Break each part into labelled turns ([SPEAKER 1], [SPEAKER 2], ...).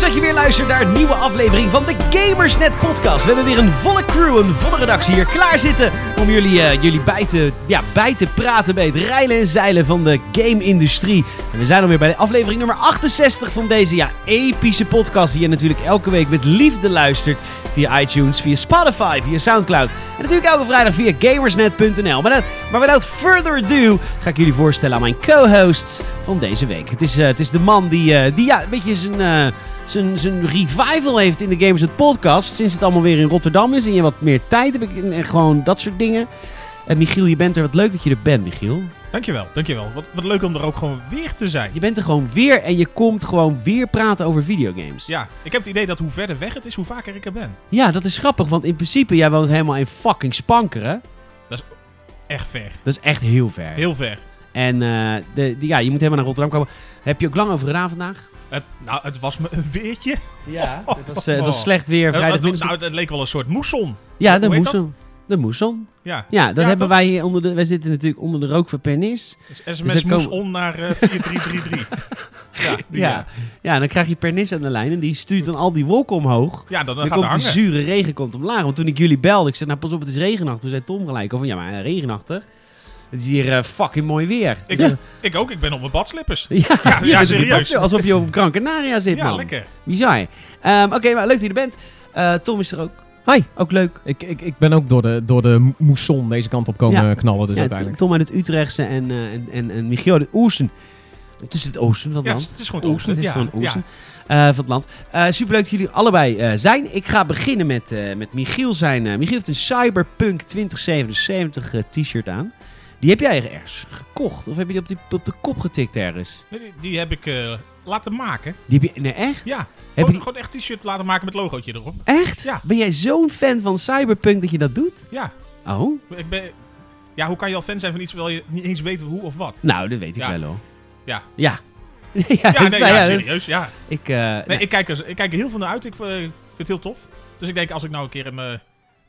[SPEAKER 1] dat je weer luistert naar een nieuwe aflevering van de Gamersnet Podcast. We hebben weer een volle crew, een volle redactie hier klaar zitten om jullie, eh, jullie bij, te, ja, bij te praten bij het reilen en zeilen van de game-industrie. En we zijn alweer bij de aflevering nummer 68 van deze ja, epische podcast die je natuurlijk elke week met liefde luistert via iTunes, via Spotify, via Soundcloud. En natuurlijk elke vrijdag via gamersnet.nl. Maar, dat- maar without further ado ga ik jullie voorstellen aan mijn co-hosts van deze week. Het is, eh, het is de man die, eh, die ja, een beetje zijn, eh, zijn, zijn revival heeft in de Gamers Net podcast. Sinds het allemaal weer in Rotterdam is en je wat meer tijd hebt en, en gewoon dat soort dingen. En Michiel, je bent er. Wat leuk dat je er bent, Michiel.
[SPEAKER 2] Dankjewel, dankjewel. Wat, wat leuk om er ook gewoon weer te zijn.
[SPEAKER 1] Je bent er gewoon weer en je komt gewoon weer praten over videogames.
[SPEAKER 2] Ja, ik heb het idee dat hoe verder weg het is, hoe vaker ik er ben.
[SPEAKER 1] Ja, dat is grappig, want in principe, jij woont helemaal in fucking Spankeren.
[SPEAKER 2] Echt ver.
[SPEAKER 1] Dat is echt heel ver.
[SPEAKER 2] Heel ver.
[SPEAKER 1] En eh, de, die- ja, je moet helemaal naar Rotterdam komen. Heb je ook lang over gedaan vandaag?
[SPEAKER 2] Het, nou, het was me een weertje.
[SPEAKER 1] Ja. Het was, eh, het was slecht weer,
[SPEAKER 2] Eh,
[SPEAKER 1] vrijdag.
[SPEAKER 2] het,
[SPEAKER 1] winterstop.
[SPEAKER 2] nou, het leek wel een soort moesson.
[SPEAKER 1] ja, de
[SPEAKER 2] hoe heet dat?
[SPEAKER 1] moeson. De moeson.
[SPEAKER 2] Ja.
[SPEAKER 1] Ja, dat
[SPEAKER 2] Ja,
[SPEAKER 1] hebben
[SPEAKER 2] toch?
[SPEAKER 1] wij hier onder de... Wij zitten natuurlijk onder de rook van Pernis.
[SPEAKER 2] Dus
[SPEAKER 1] dat
[SPEAKER 2] SMS
[SPEAKER 1] komen-
[SPEAKER 2] moeson naar eh, 4333. ja, die, eh,
[SPEAKER 1] Ja.
[SPEAKER 2] ja.
[SPEAKER 1] Ja, en dan krijg je Pernis aan de lijn en die stuurt dan al die wolken omhoog.
[SPEAKER 2] ja, dan, dan
[SPEAKER 1] Dan
[SPEAKER 2] gaat het
[SPEAKER 1] komt die
[SPEAKER 2] hangen.
[SPEAKER 1] zure regen komt omlaag. Want toen ik jullie belde, ik zei, nou pas op, het is regenachtig. Toen zei Tom gelijk al van, ja, maar eh, regenachtig. Het is hier eh, fucking mooi weer.
[SPEAKER 2] Ik,
[SPEAKER 1] Dus, eh,
[SPEAKER 2] ik ook, ik ben op mijn badslippers.
[SPEAKER 1] ja,
[SPEAKER 2] ja,
[SPEAKER 1] je bent er
[SPEAKER 2] serieus.
[SPEAKER 1] kapot, Alsof je op Gran Canaria zit,
[SPEAKER 2] Ja,
[SPEAKER 1] man.
[SPEAKER 2] lekker.
[SPEAKER 1] Bizar. Ehm, Oké, maar leuk dat je er bent. Eh, Tom is er ook.
[SPEAKER 3] Hi. Dus
[SPEAKER 1] Ook leuk.
[SPEAKER 3] Ik, ik, ik ben ook door de, door de moesson deze kant op komen
[SPEAKER 1] Ja.
[SPEAKER 3] knallen, dus
[SPEAKER 1] Ja,
[SPEAKER 3] uiteindelijk.
[SPEAKER 1] Tom uit het Utrechtse en, eh, en, en, en Michiel uit het Oersen. Het is het Oosten van het
[SPEAKER 2] Ja,
[SPEAKER 1] land.
[SPEAKER 2] het is gewoon
[SPEAKER 1] Oersen,
[SPEAKER 2] oosten.
[SPEAKER 1] het is
[SPEAKER 2] ja,
[SPEAKER 1] gewoon
[SPEAKER 2] ja.
[SPEAKER 1] Oersen eh, van het land. Eh superleuk dat jullie allebei eh, zijn. Ik ga beginnen met, eh, met Michiel zijn. eh, Michiel heeft een Cyberpunk 2077 eh, t-shirt aan. Die heb jij ergens gekocht? Of heb je die op, die op de kop getikt ergens?
[SPEAKER 2] Nee, Die, die heb ik eh, laten maken.
[SPEAKER 1] Die heb je... Nee, echt?
[SPEAKER 2] Ja,
[SPEAKER 1] Heb
[SPEAKER 2] gewoon,
[SPEAKER 1] je die-
[SPEAKER 2] gewoon echt t-shirt laten maken met logootje erop.
[SPEAKER 1] Echt?
[SPEAKER 2] Ja.
[SPEAKER 1] Ben jij zo'n fan van Cyberpunk dat je dat doet?
[SPEAKER 2] Ja,
[SPEAKER 1] Oh?
[SPEAKER 2] ik ben... Ja, hoe kan je al fan zijn van iets terwijl je niet eens weet hoe of wat?
[SPEAKER 1] Nou, dat weet ik
[SPEAKER 2] Ja.
[SPEAKER 1] wel hoor.
[SPEAKER 2] Ja.
[SPEAKER 1] Ja. ja,
[SPEAKER 2] Ja,
[SPEAKER 1] dat is
[SPEAKER 3] Nou
[SPEAKER 2] nee,
[SPEAKER 1] waar,
[SPEAKER 2] ja,
[SPEAKER 1] ja, dat is-
[SPEAKER 2] serieus, ja.
[SPEAKER 1] Ik, eh,
[SPEAKER 2] Nee,
[SPEAKER 1] nou,
[SPEAKER 2] ik, kijk er, ik kijk er heel veel naar uit. Ik eh, vind het heel tof. Dus ik denk, als ik nou een keer een, eh,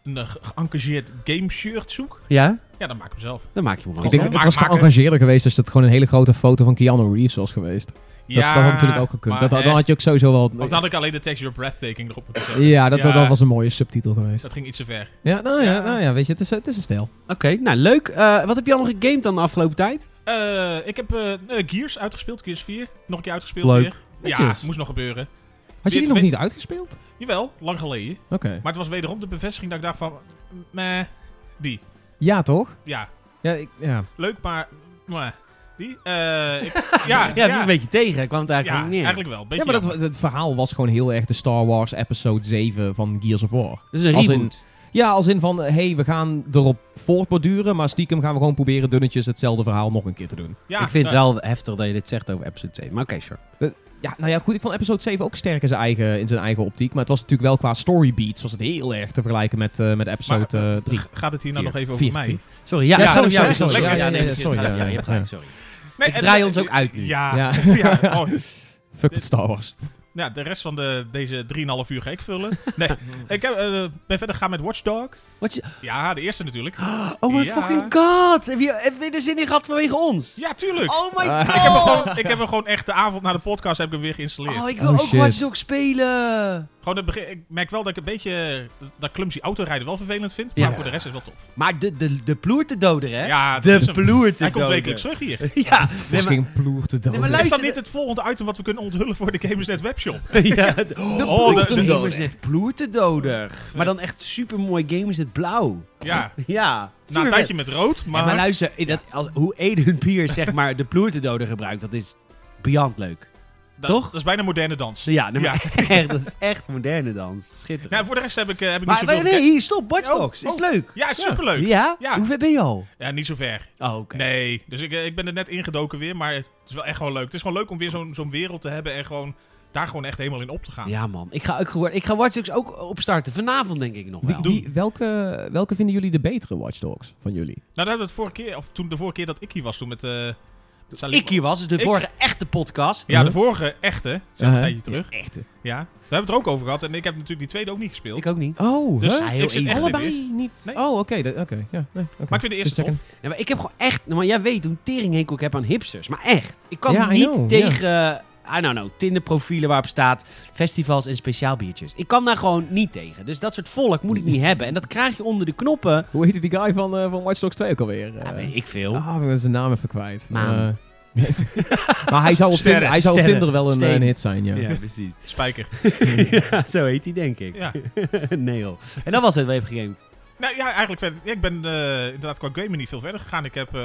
[SPEAKER 2] een eh, ge- geëngageerd game-shirt zoek,
[SPEAKER 1] ja,
[SPEAKER 2] ja, dan maak ik hem zelf.
[SPEAKER 1] dan maak je hem
[SPEAKER 3] Ik
[SPEAKER 1] gewoon.
[SPEAKER 3] denk
[SPEAKER 2] Maak-
[SPEAKER 3] dat het was
[SPEAKER 2] maken.
[SPEAKER 3] geëngageerder geweest als dat gewoon een hele grote foto van Keanu Reeves was geweest. dat, dat had natuurlijk ook gekund.
[SPEAKER 2] maar,
[SPEAKER 3] Dat, dan
[SPEAKER 2] eh,
[SPEAKER 3] had je ook sowieso wel...
[SPEAKER 2] Of dan had ik alleen de tekst Your Breathtaking erop moeten zetten.
[SPEAKER 3] ja, dat, dat,
[SPEAKER 2] Ja.
[SPEAKER 3] dat was een mooie subtitel geweest.
[SPEAKER 2] Dat ging iets te ver.
[SPEAKER 3] Ja, nou ja,
[SPEAKER 2] Ja.
[SPEAKER 3] nou ja, weet je, het is, het is een stijl.
[SPEAKER 1] Oké, nou leuk. Eh, wat heb je al nog gegamed dan de afgelopen tijd?
[SPEAKER 2] Eh, ik heb eh, eh, Gears uitgespeeld, Gears 4. Nog een keer uitgespeeld
[SPEAKER 3] Leuk.
[SPEAKER 2] weer. Ja,
[SPEAKER 3] Netjes.
[SPEAKER 2] moest nog gebeuren.
[SPEAKER 3] Had je die
[SPEAKER 2] Weet-
[SPEAKER 3] nog
[SPEAKER 2] weet-
[SPEAKER 3] niet uitgespeeld?
[SPEAKER 2] Jawel, lang geleden.
[SPEAKER 3] Oké.
[SPEAKER 2] Maar het was wederom de bevestiging dat ik dacht van... Meh, die.
[SPEAKER 3] Ja, toch?
[SPEAKER 2] Ja,
[SPEAKER 3] Ja, ik, ja.
[SPEAKER 2] leuk, maar... meh, die. Eh, ik- ja, ja,
[SPEAKER 1] Ja, viel een beetje tegen. Ik kwam het eigenlijk
[SPEAKER 2] Ja,
[SPEAKER 1] niet neer.
[SPEAKER 2] eigenlijk wel. Beetje
[SPEAKER 3] ja, maar
[SPEAKER 2] jammer.
[SPEAKER 3] dat, het verhaal was gewoon heel erg de Star Wars Episode 7 van Gears of War.
[SPEAKER 1] Dat is een
[SPEAKER 3] Als
[SPEAKER 1] reboot.
[SPEAKER 3] Ja, als in van, hé, hey, we gaan erop voortborduren, maar stiekem gaan we gewoon proberen dunnetjes hetzelfde verhaal nog een keer te doen.
[SPEAKER 2] Ja,
[SPEAKER 1] ik vind
[SPEAKER 2] nou,
[SPEAKER 1] het wel heftig dat je dit zegt over episode 7. Maar oké, sure.
[SPEAKER 3] Ja, nou ja, goed, ik vond episode 7 ook sterk in zijn eigen, in zijn eigen optiek, maar het was natuurlijk wel qua story beats was het heel erg te vergelijken met, eh, met episode
[SPEAKER 2] Maar,
[SPEAKER 3] eh, 3.
[SPEAKER 2] G- Gaat het hier nou
[SPEAKER 3] Vier.
[SPEAKER 2] nog even over
[SPEAKER 3] Vier.
[SPEAKER 2] mij?
[SPEAKER 3] Vier.
[SPEAKER 1] Sorry, ja,
[SPEAKER 3] Ja,
[SPEAKER 1] ja,
[SPEAKER 3] sorry,
[SPEAKER 1] ja,
[SPEAKER 3] sorry,
[SPEAKER 1] sorry,
[SPEAKER 2] sorry.
[SPEAKER 1] ja, ja,
[SPEAKER 2] Lekker,
[SPEAKER 1] nee,
[SPEAKER 2] ja,
[SPEAKER 1] sorry,
[SPEAKER 2] ja,
[SPEAKER 1] ja,
[SPEAKER 2] ja,
[SPEAKER 1] ja, je hebt gelijk,
[SPEAKER 3] ja.
[SPEAKER 1] sorry.
[SPEAKER 2] Nee,
[SPEAKER 1] Ik
[SPEAKER 2] en- eh,
[SPEAKER 1] draai ons ook uit nu.
[SPEAKER 2] Ja,
[SPEAKER 3] Ja.
[SPEAKER 2] ja. oh.
[SPEAKER 3] Fuck het Star Wars.
[SPEAKER 2] Ja, de rest van de, deze 3,5 uur ga ik vullen. Nee, ik heb, eh, ben verder gegaan met Watch Dogs.
[SPEAKER 1] Wat je-
[SPEAKER 2] Ja, de eerste natuurlijk.
[SPEAKER 1] Oh my
[SPEAKER 2] Ja.
[SPEAKER 1] fucking god. Heb je, heb je er zin in gehad vanwege ons?
[SPEAKER 2] Ja, tuurlijk.
[SPEAKER 1] Oh my god.
[SPEAKER 2] Ah, Ik, heb hem gewoon, ik heb hem gewoon echt de avond na de podcast heb ik hem weer geïnstalleerd.
[SPEAKER 1] Oh, ik
[SPEAKER 3] Oh,
[SPEAKER 1] wil ook
[SPEAKER 3] shit.
[SPEAKER 1] Watch Dogs spelen.
[SPEAKER 2] Gewoon het begin, ik merk wel dat ik een beetje eh, dat clumsy autorijden wel vervelend vind. Maar
[SPEAKER 1] Ja.
[SPEAKER 2] voor de rest is het wel tof.
[SPEAKER 1] Maar de, de, de ploer te doden, hè?
[SPEAKER 2] Ja, Ah, dat is
[SPEAKER 1] de
[SPEAKER 2] hem.
[SPEAKER 1] ploer te
[SPEAKER 2] Hij komt
[SPEAKER 1] doden.
[SPEAKER 2] wekelijks terug hier.
[SPEAKER 1] Ja, nee, maar-
[SPEAKER 3] Fucking ploer te dood.
[SPEAKER 1] Nee, maar
[SPEAKER 2] Is
[SPEAKER 1] luister,
[SPEAKER 2] dat niet het volgende item wat we kunnen onthullen voor de Gamersnet webshop?
[SPEAKER 1] ja, de,
[SPEAKER 2] Oh, de- Oh, de-
[SPEAKER 1] gamers net ploertedoder. Maar dan echt super mooi gamers net blauw.
[SPEAKER 2] Ja,
[SPEAKER 1] Ja.
[SPEAKER 2] na een
[SPEAKER 1] supervet.
[SPEAKER 2] tijdje met rood,
[SPEAKER 1] Ja, maar nou,
[SPEAKER 2] maar...
[SPEAKER 1] luister, in dat, als, hoe Eden Pier zeg maar de ploertedoder gebruikt, dat is beyond leuk.
[SPEAKER 2] dat-
[SPEAKER 1] toch?
[SPEAKER 2] Dat is bijna moderne dans.
[SPEAKER 1] Ja, nee,
[SPEAKER 2] Ja.
[SPEAKER 1] maar echt, dat is echt moderne dans. Schitterend.
[SPEAKER 2] Nou, voor de rest heb ik, eh, heb ik
[SPEAKER 1] maar
[SPEAKER 2] niet zoveel...
[SPEAKER 1] nee, nee, hier, stop, Watch
[SPEAKER 2] Oh,
[SPEAKER 1] Dogs. is
[SPEAKER 2] oh.
[SPEAKER 1] leuk.
[SPEAKER 2] Ja, superleuk.
[SPEAKER 1] Ja?
[SPEAKER 2] Ja.
[SPEAKER 1] Hoe ver ben je al?
[SPEAKER 2] Ja, niet zo ver.
[SPEAKER 1] Oh, oké.
[SPEAKER 2] Nee, dus ik, eh, ik ben er net ingedoken weer, maar het is wel echt gewoon leuk. Het is gewoon leuk om weer zo'n zo'n wereld te hebben en gewoon daar gewoon echt helemaal in op te gaan.
[SPEAKER 1] Ja, man. Ik ga, ook, gehoor- ik ga Watch Dogs ook opstarten. Vanavond denk ik nog wel.
[SPEAKER 3] Wie, wie- welke, welke vinden jullie de betere Watch Dogs van jullie?
[SPEAKER 2] Nou, daar hebben we het vorige keer, of toen de vorige keer dat ik hier was, toen met... eh, met Salim-
[SPEAKER 1] ik hier was, dus de
[SPEAKER 2] Ik-
[SPEAKER 1] vorige echte podcast.
[SPEAKER 2] Ja, de vorige echte, zeg een
[SPEAKER 3] Uh-huh.
[SPEAKER 2] tijdje terug.
[SPEAKER 3] Ja, echte.
[SPEAKER 2] Ja, daar hebben we het er ook over gehad en ik heb natuurlijk die tweede ook niet gespeeld.
[SPEAKER 1] Ik ook niet.
[SPEAKER 3] Oh,
[SPEAKER 2] Dus
[SPEAKER 3] hè?
[SPEAKER 1] Ja, heel
[SPEAKER 2] ik zit
[SPEAKER 1] even.
[SPEAKER 2] echt in de
[SPEAKER 3] allebei
[SPEAKER 2] eerste.
[SPEAKER 3] niet.
[SPEAKER 2] Nee.
[SPEAKER 3] Oh, oké, dat- oké. ja, nee, oké.
[SPEAKER 2] Maar ik vind de
[SPEAKER 3] Just
[SPEAKER 2] eerste tof.
[SPEAKER 3] checken.
[SPEAKER 1] Ja, maar ik heb gewoon echt... nou, Maar jij weet hoe tering ik heb aan hipsters. Maar echt. Ik kan
[SPEAKER 3] Ja, I
[SPEAKER 1] niet
[SPEAKER 3] know,
[SPEAKER 1] tegen eh, I don't know, Tinderprofielen waarop staat festivals en speciaalbiertjes. Ik kan daar gewoon niet tegen. Dus dat soort volk moet ik niet hebben. En dat krijg je onder de knoppen.
[SPEAKER 3] Hoe heette die guy van, eh van Watch Dogs 2 ook alweer?
[SPEAKER 1] Ja,
[SPEAKER 3] Eh,
[SPEAKER 1] weet ik veel.
[SPEAKER 3] Ah, ik ben zijn naam even kwijt.
[SPEAKER 1] Maan.
[SPEAKER 3] Eh, maar hij zou,
[SPEAKER 2] Sterren,
[SPEAKER 3] op Tinder, hij zou op
[SPEAKER 1] sterren,
[SPEAKER 3] Tinder wel een,
[SPEAKER 1] stenen.
[SPEAKER 3] een hit zijn, ja.
[SPEAKER 1] precies.
[SPEAKER 2] Spijker.
[SPEAKER 1] ja, zo heet hij, denk ik.
[SPEAKER 2] Ja.
[SPEAKER 1] nee, joh. En dat was het Wave Gegamed.
[SPEAKER 2] Nou ja, eigenlijk verder. ja, ik ben eh, inderdaad qua gamen niet veel verder gegaan. Ik heb eh,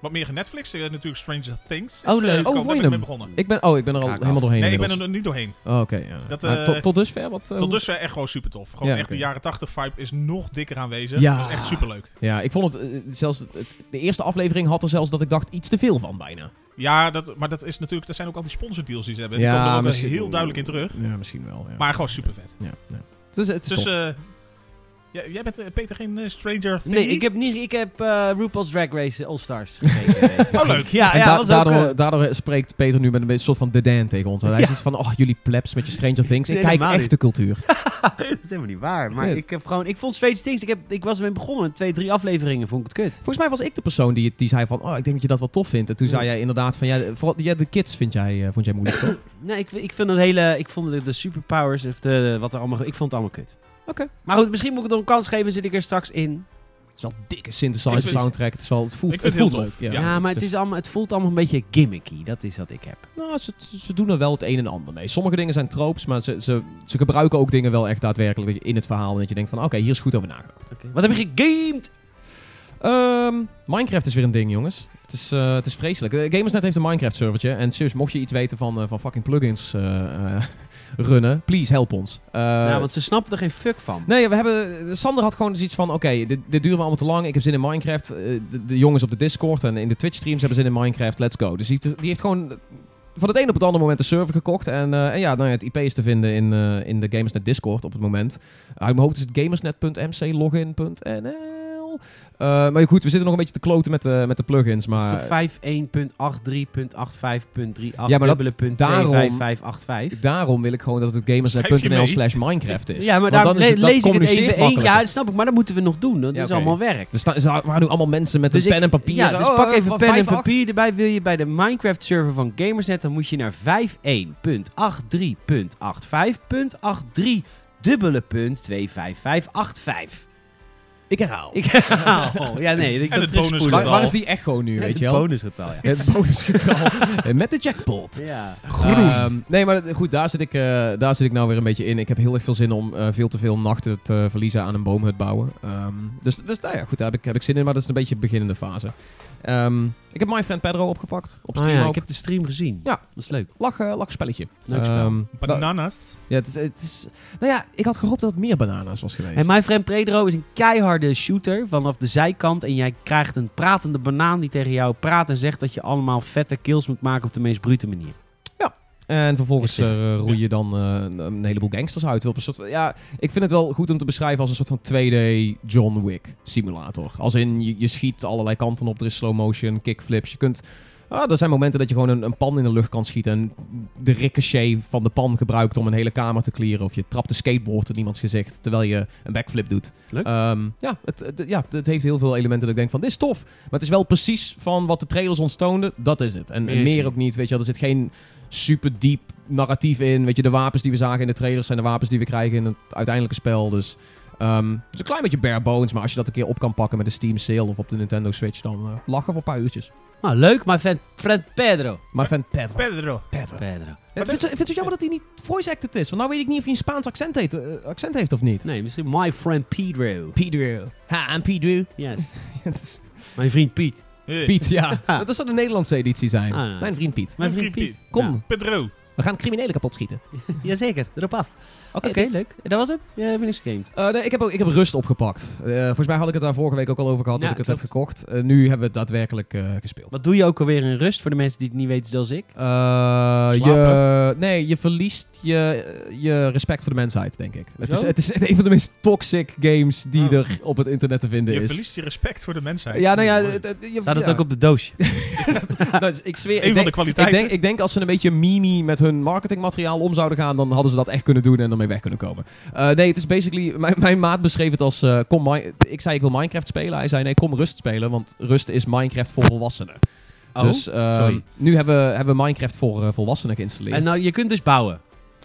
[SPEAKER 2] wat meer genetflix. Eh, natuurlijk Stranger Things.
[SPEAKER 3] Oh,
[SPEAKER 2] eh,
[SPEAKER 3] leuk.
[SPEAKER 2] gekomen. Daar
[SPEAKER 3] Oh, vond je
[SPEAKER 2] ben ik
[SPEAKER 3] hem?
[SPEAKER 2] mee begonnen.
[SPEAKER 3] Ik ben, oh, ik ben er al
[SPEAKER 1] Ga ik af.
[SPEAKER 3] helemaal doorheen
[SPEAKER 2] nee, ik ben
[SPEAKER 3] inmiddels.
[SPEAKER 2] er niet doorheen.
[SPEAKER 3] Oh, Oké, ja.
[SPEAKER 2] Dat,
[SPEAKER 3] Maar
[SPEAKER 2] eh,
[SPEAKER 3] tot, tot dusver? Wat, eh,
[SPEAKER 2] Tot dus-
[SPEAKER 3] hoe-
[SPEAKER 2] dusver echt gewoon super tof. Gewoon
[SPEAKER 3] Ja,
[SPEAKER 2] echt de
[SPEAKER 3] oké.
[SPEAKER 2] jaren 80 vibe is nog dikker aanwezig.
[SPEAKER 3] Ja.
[SPEAKER 2] Dat is echt super leuk.
[SPEAKER 3] Ja, ik vond het, eh, zelfs het- het- de eerste aflevering had er zelfs dat ik dacht iets te veel van bijna.
[SPEAKER 2] Ja, dat, maar dat is natuurlijk. Dat zijn ook al die sponsordeals die ze hebben.
[SPEAKER 3] Ja,
[SPEAKER 2] die komen er ook wel
[SPEAKER 3] misschien-
[SPEAKER 2] heel duidelijk in terug.
[SPEAKER 3] Ja, misschien wel. Ja.
[SPEAKER 2] Maar gewoon super vet.
[SPEAKER 3] Ja, ja. Het is, het is
[SPEAKER 2] Dus
[SPEAKER 3] tof.
[SPEAKER 2] eh, ja, jij bent eh, Peter geen eh, Stranger Things.
[SPEAKER 1] Nee, ik heb, niet, ik heb eh, RuPaul's Drag Race eh, All-Stars gekeken.
[SPEAKER 2] Oh, leuk.
[SPEAKER 1] Ja,
[SPEAKER 3] en
[SPEAKER 1] ja,
[SPEAKER 3] da-
[SPEAKER 1] was ook,
[SPEAKER 3] daardoor,
[SPEAKER 1] eh,
[SPEAKER 3] daardoor spreekt Peter nu met een beetje- soort van de Dan tegen ons. Hij
[SPEAKER 1] Ja.
[SPEAKER 3] is iets van, oh, jullie plebs met je Stranger Things. Ik
[SPEAKER 1] Nee,
[SPEAKER 3] kijk
[SPEAKER 1] helemaal
[SPEAKER 3] echt de cultuur.
[SPEAKER 1] dat is helemaal niet waar. Maar
[SPEAKER 3] Ja.
[SPEAKER 1] ik, heb gewoon, ik vond Strange Things, ik, heb, ik was ermee begonnen. Twee, drie afleveringen vond ik het kut.
[SPEAKER 3] Volgens mij was ik de persoon die, die zei van, oh, ik denk dat je dat wel tof vindt. En toen
[SPEAKER 1] Ja.
[SPEAKER 3] zei jij inderdaad van, ja, vooral, ja de kids vind jij, eh, vond jij moeilijk, toch?
[SPEAKER 1] Nee, ik, ik vind het hele. Ik vond de, de superpowers of de, wat er allemaal. Ik vond het allemaal kut.
[SPEAKER 3] Oké.
[SPEAKER 1] Maar goed, misschien moet ik het nog een kans geven. Zit ik er straks in.
[SPEAKER 3] Het is wel een dikke synthesizer
[SPEAKER 2] Ik vind-
[SPEAKER 3] soundtrack. Het, is wel, het voelt,
[SPEAKER 2] Ik vind
[SPEAKER 3] het voelt
[SPEAKER 2] het heel
[SPEAKER 3] leuk. Dus-
[SPEAKER 2] tof,
[SPEAKER 1] Ja,
[SPEAKER 2] Ja,
[SPEAKER 1] maar het, is allemaal, het voelt allemaal een beetje gimmicky. Dat is wat ik heb.
[SPEAKER 3] Nou, ze, ze doen er wel het een en ander mee. Sommige dingen zijn tropes, maar ze, ze, ze gebruiken ook dingen wel echt daadwerkelijk dat je in het verhaal. En dat je denkt van, oké, hier is goed over nagedacht.
[SPEAKER 1] Wat heb je gegamed?
[SPEAKER 3] Ehm, Minecraft is weer een ding, jongens. Het is, eh, het is vreselijk. Eh, Gamersnet heeft een Minecraft-servertje. En serieus, mocht je iets weten van, eh, van fucking plugins eh, eh, runnen, please, help ons. Eh,
[SPEAKER 1] nou, want ze snappen er geen fuck van.
[SPEAKER 3] Nee, we hebben, Sander had gewoon dus iets van, oké, dit, dit duurt me allemaal te lang. Ik heb zin in Minecraft. Eh, de, de jongens op de Discord en in de Twitch-streams hebben zin in Minecraft. Let's go. Dus die, heeft- die heeft gewoon van het een op het andere moment de server gekocht. En, eh, en ja, nou ja, het IP is te vinden in, eh, in de Gamersnet Discord op het moment. Uit mijn hoofd is het gamersnet.mclogin.nl. Eh, maar goed, we zitten nog een beetje te kloten met de, met de plugins.
[SPEAKER 1] Maar,
[SPEAKER 3] Maar
[SPEAKER 1] 51.83.85.38.
[SPEAKER 3] Ja, maar dat-
[SPEAKER 1] dubbele punt
[SPEAKER 3] daarom-
[SPEAKER 1] 25585.
[SPEAKER 3] daarom wil ik gewoon dat het
[SPEAKER 2] Schrijf je
[SPEAKER 3] gamersnet.nl
[SPEAKER 2] mee?
[SPEAKER 3] slash Minecraft is.
[SPEAKER 1] Ja, maar
[SPEAKER 3] Want
[SPEAKER 1] daar
[SPEAKER 3] dan is het- dat
[SPEAKER 1] lees ik het
[SPEAKER 3] communiceert
[SPEAKER 1] even één.
[SPEAKER 3] makkelijker.
[SPEAKER 1] Ja, dat snap ik. Maar dat moeten we nog doen. Dat
[SPEAKER 3] Ja,
[SPEAKER 1] is
[SPEAKER 3] oké.
[SPEAKER 1] allemaal werk.
[SPEAKER 3] Er, staan, er waren nu allemaal mensen met een
[SPEAKER 1] ik-
[SPEAKER 3] pen en papier.
[SPEAKER 1] Ja, dus
[SPEAKER 3] Oh,
[SPEAKER 1] pak
[SPEAKER 3] eh,
[SPEAKER 1] even
[SPEAKER 3] wat,
[SPEAKER 1] pen en
[SPEAKER 3] vijf, acht?
[SPEAKER 1] papier erbij. Wil je bij de Minecraft-server van Gamersnet, dan moet je naar 51.83.85.83 dubbele punt 25585.
[SPEAKER 3] Ik herhaal.
[SPEAKER 1] Ik haal. Ja, nee. Ik
[SPEAKER 2] En
[SPEAKER 1] dat
[SPEAKER 2] het bonusgetal.
[SPEAKER 3] Waar,
[SPEAKER 1] terugspoelen.
[SPEAKER 3] waar is die echo nu,
[SPEAKER 1] Ja,
[SPEAKER 3] weet
[SPEAKER 1] het
[SPEAKER 3] je wel?
[SPEAKER 1] bonusgetal, ja.
[SPEAKER 3] Het bonusgetal. Eh, Met de jackpot.
[SPEAKER 1] Ja.
[SPEAKER 3] Ehm, nee, maar dat- goed, daar zit, ik, eh, daar zit ik nou weer een beetje in. Ik heb heel erg veel zin om eh, veel te veel nachten te verliezen aan een boomhut bouwen. Ehm, dus dus nou ja, goed, daar heb ik, heb ik zin in, maar dat is een beetje de beginnende fase. Ehm, ik heb My Friend Pedro opgepakt. Op stream
[SPEAKER 1] Oh ja,
[SPEAKER 3] ook.
[SPEAKER 1] ik heb de stream gezien.
[SPEAKER 3] Ja.
[SPEAKER 1] Dat is leuk.
[SPEAKER 3] Lach, eh, lachspelletje.
[SPEAKER 1] Leuk spel.
[SPEAKER 3] Ehm, nou,
[SPEAKER 2] Bananas.
[SPEAKER 3] ja, het is, het is, nou ja, ik had gehoopt dat het meer banana's was geweest.
[SPEAKER 1] En My Friend Predro is een keiharde shooter vanaf de zijkant. En jij krijgt een pratende banaan die tegen jou praat en zegt dat je allemaal vette kills moet maken op de meest brute manier.
[SPEAKER 3] En vervolgens
[SPEAKER 1] Ik zeg-
[SPEAKER 3] eh, roei je dan eh, een- een heleboel gangsters uit. Op een soort, van- ja, ik vind het wel goed om te beschrijven als een soort van 2D John Wick simulator. Als in, je, je schiet allerlei kanten op. Er is slow motion, kickflips. Je kunt... Ah, er zijn momenten dat je gewoon een, een pan in de lucht kan schieten. En de ricochet van de pan gebruikt om een hele kamer te clearen. Of je trapt een skateboard in iemands gezicht terwijl je een backflip doet.
[SPEAKER 1] Leuk.
[SPEAKER 3] Ehm, ja, het, het- ja, het heeft heel veel elementen dat ik denk van, dit is tof. Maar het is wel precies van wat de trailers ontstoonden. Dat is het. En, en
[SPEAKER 1] Meer is
[SPEAKER 3] meer
[SPEAKER 1] het.
[SPEAKER 3] ook niet. Weet je wel, er zit geen super diep narratief in. Weet je, de wapens die we zagen in de trailers zijn de wapens die we krijgen in het uiteindelijke spel. Dus ehm, het is een klein beetje bare bones. Maar als je dat een keer op kan pakken met een Steam sale of op de Nintendo Switch, dan eh, lachen voor een paar uurtjes.
[SPEAKER 1] Nou, leuk. My Friend, friend Pedro.
[SPEAKER 3] Maar fan Pedro.
[SPEAKER 2] Pedro.
[SPEAKER 3] Pedro.
[SPEAKER 1] Pedro.
[SPEAKER 3] Ja, Ik vind het ik vind het zo jammer dat hij niet voice acted is. Want nou weet ik niet of hij een Spaans accent heeft, eh, accent heeft of niet.
[SPEAKER 1] Nee, misschien My Friend Pedro.
[SPEAKER 3] Pedro. Ha, en Pedro.
[SPEAKER 1] Yes.
[SPEAKER 3] Het is-
[SPEAKER 1] Mijn vriend Piet.
[SPEAKER 2] Hey.
[SPEAKER 3] Piet, ja. Dat zou de Nederlandse editie zijn.
[SPEAKER 1] Ah, ja.
[SPEAKER 3] Mijn vriend Piet.
[SPEAKER 1] Mijn
[SPEAKER 2] vriend Piet.
[SPEAKER 3] Kom,
[SPEAKER 1] Ja.
[SPEAKER 2] Pedro.
[SPEAKER 3] we gaan criminelen kapot schieten.
[SPEAKER 1] Jazeker, erop af. Oké,
[SPEAKER 3] Piet.
[SPEAKER 1] leuk. En Dat was het? Ja, heb je niks gegamed.
[SPEAKER 3] Eh, nee, ik, heb ook, ik heb rust opgepakt. Eh, volgens mij had ik het daar vorige week ook al over gehad
[SPEAKER 1] Ja,
[SPEAKER 3] dat ik het
[SPEAKER 1] klopt.
[SPEAKER 3] heb gekocht. Eh, nu hebben we het daadwerkelijk eh, gespeeld.
[SPEAKER 1] Wat doe je ook alweer in rust voor de mensen die het niet weten zoals ik?
[SPEAKER 3] Eh, je, nee, je verliest je, je respect voor de mensheid, denk ik. Het is,
[SPEAKER 1] Hoezo?
[SPEAKER 3] het is een van de meest toxic games die
[SPEAKER 2] Oh.
[SPEAKER 3] er op het internet te vinden
[SPEAKER 2] Je
[SPEAKER 3] is.
[SPEAKER 2] verliest je respect voor de mensheid.
[SPEAKER 3] Ja, nou ja, het- het- je-
[SPEAKER 1] Staat het
[SPEAKER 3] ja.
[SPEAKER 1] ook op de doosje?
[SPEAKER 3] Dat is- ik zweer,
[SPEAKER 2] Een
[SPEAKER 3] ik
[SPEAKER 2] van
[SPEAKER 3] denk,
[SPEAKER 2] de kwaliteiten.
[SPEAKER 3] Ik denk, ik denk als ze een beetje mimi met hun marketingmateriaal om zouden gaan, dan hadden ze dat echt kunnen doen en ermee weg kunnen komen. Eh, nee, het is basically. Mijn, mijn maat beschreef het als. eh, kom Mi- ik zei ik wil Minecraft spelen. Hij zei nee, kom rust spelen, want rust is Minecraft voor volwassenen.
[SPEAKER 1] Oh,
[SPEAKER 3] dus ehm,
[SPEAKER 1] sorry.
[SPEAKER 3] nu hebben, we- hebben we Minecraft voor eh, volwassenen geïnstalleerd.
[SPEAKER 1] En nou, je kunt dus bouwen.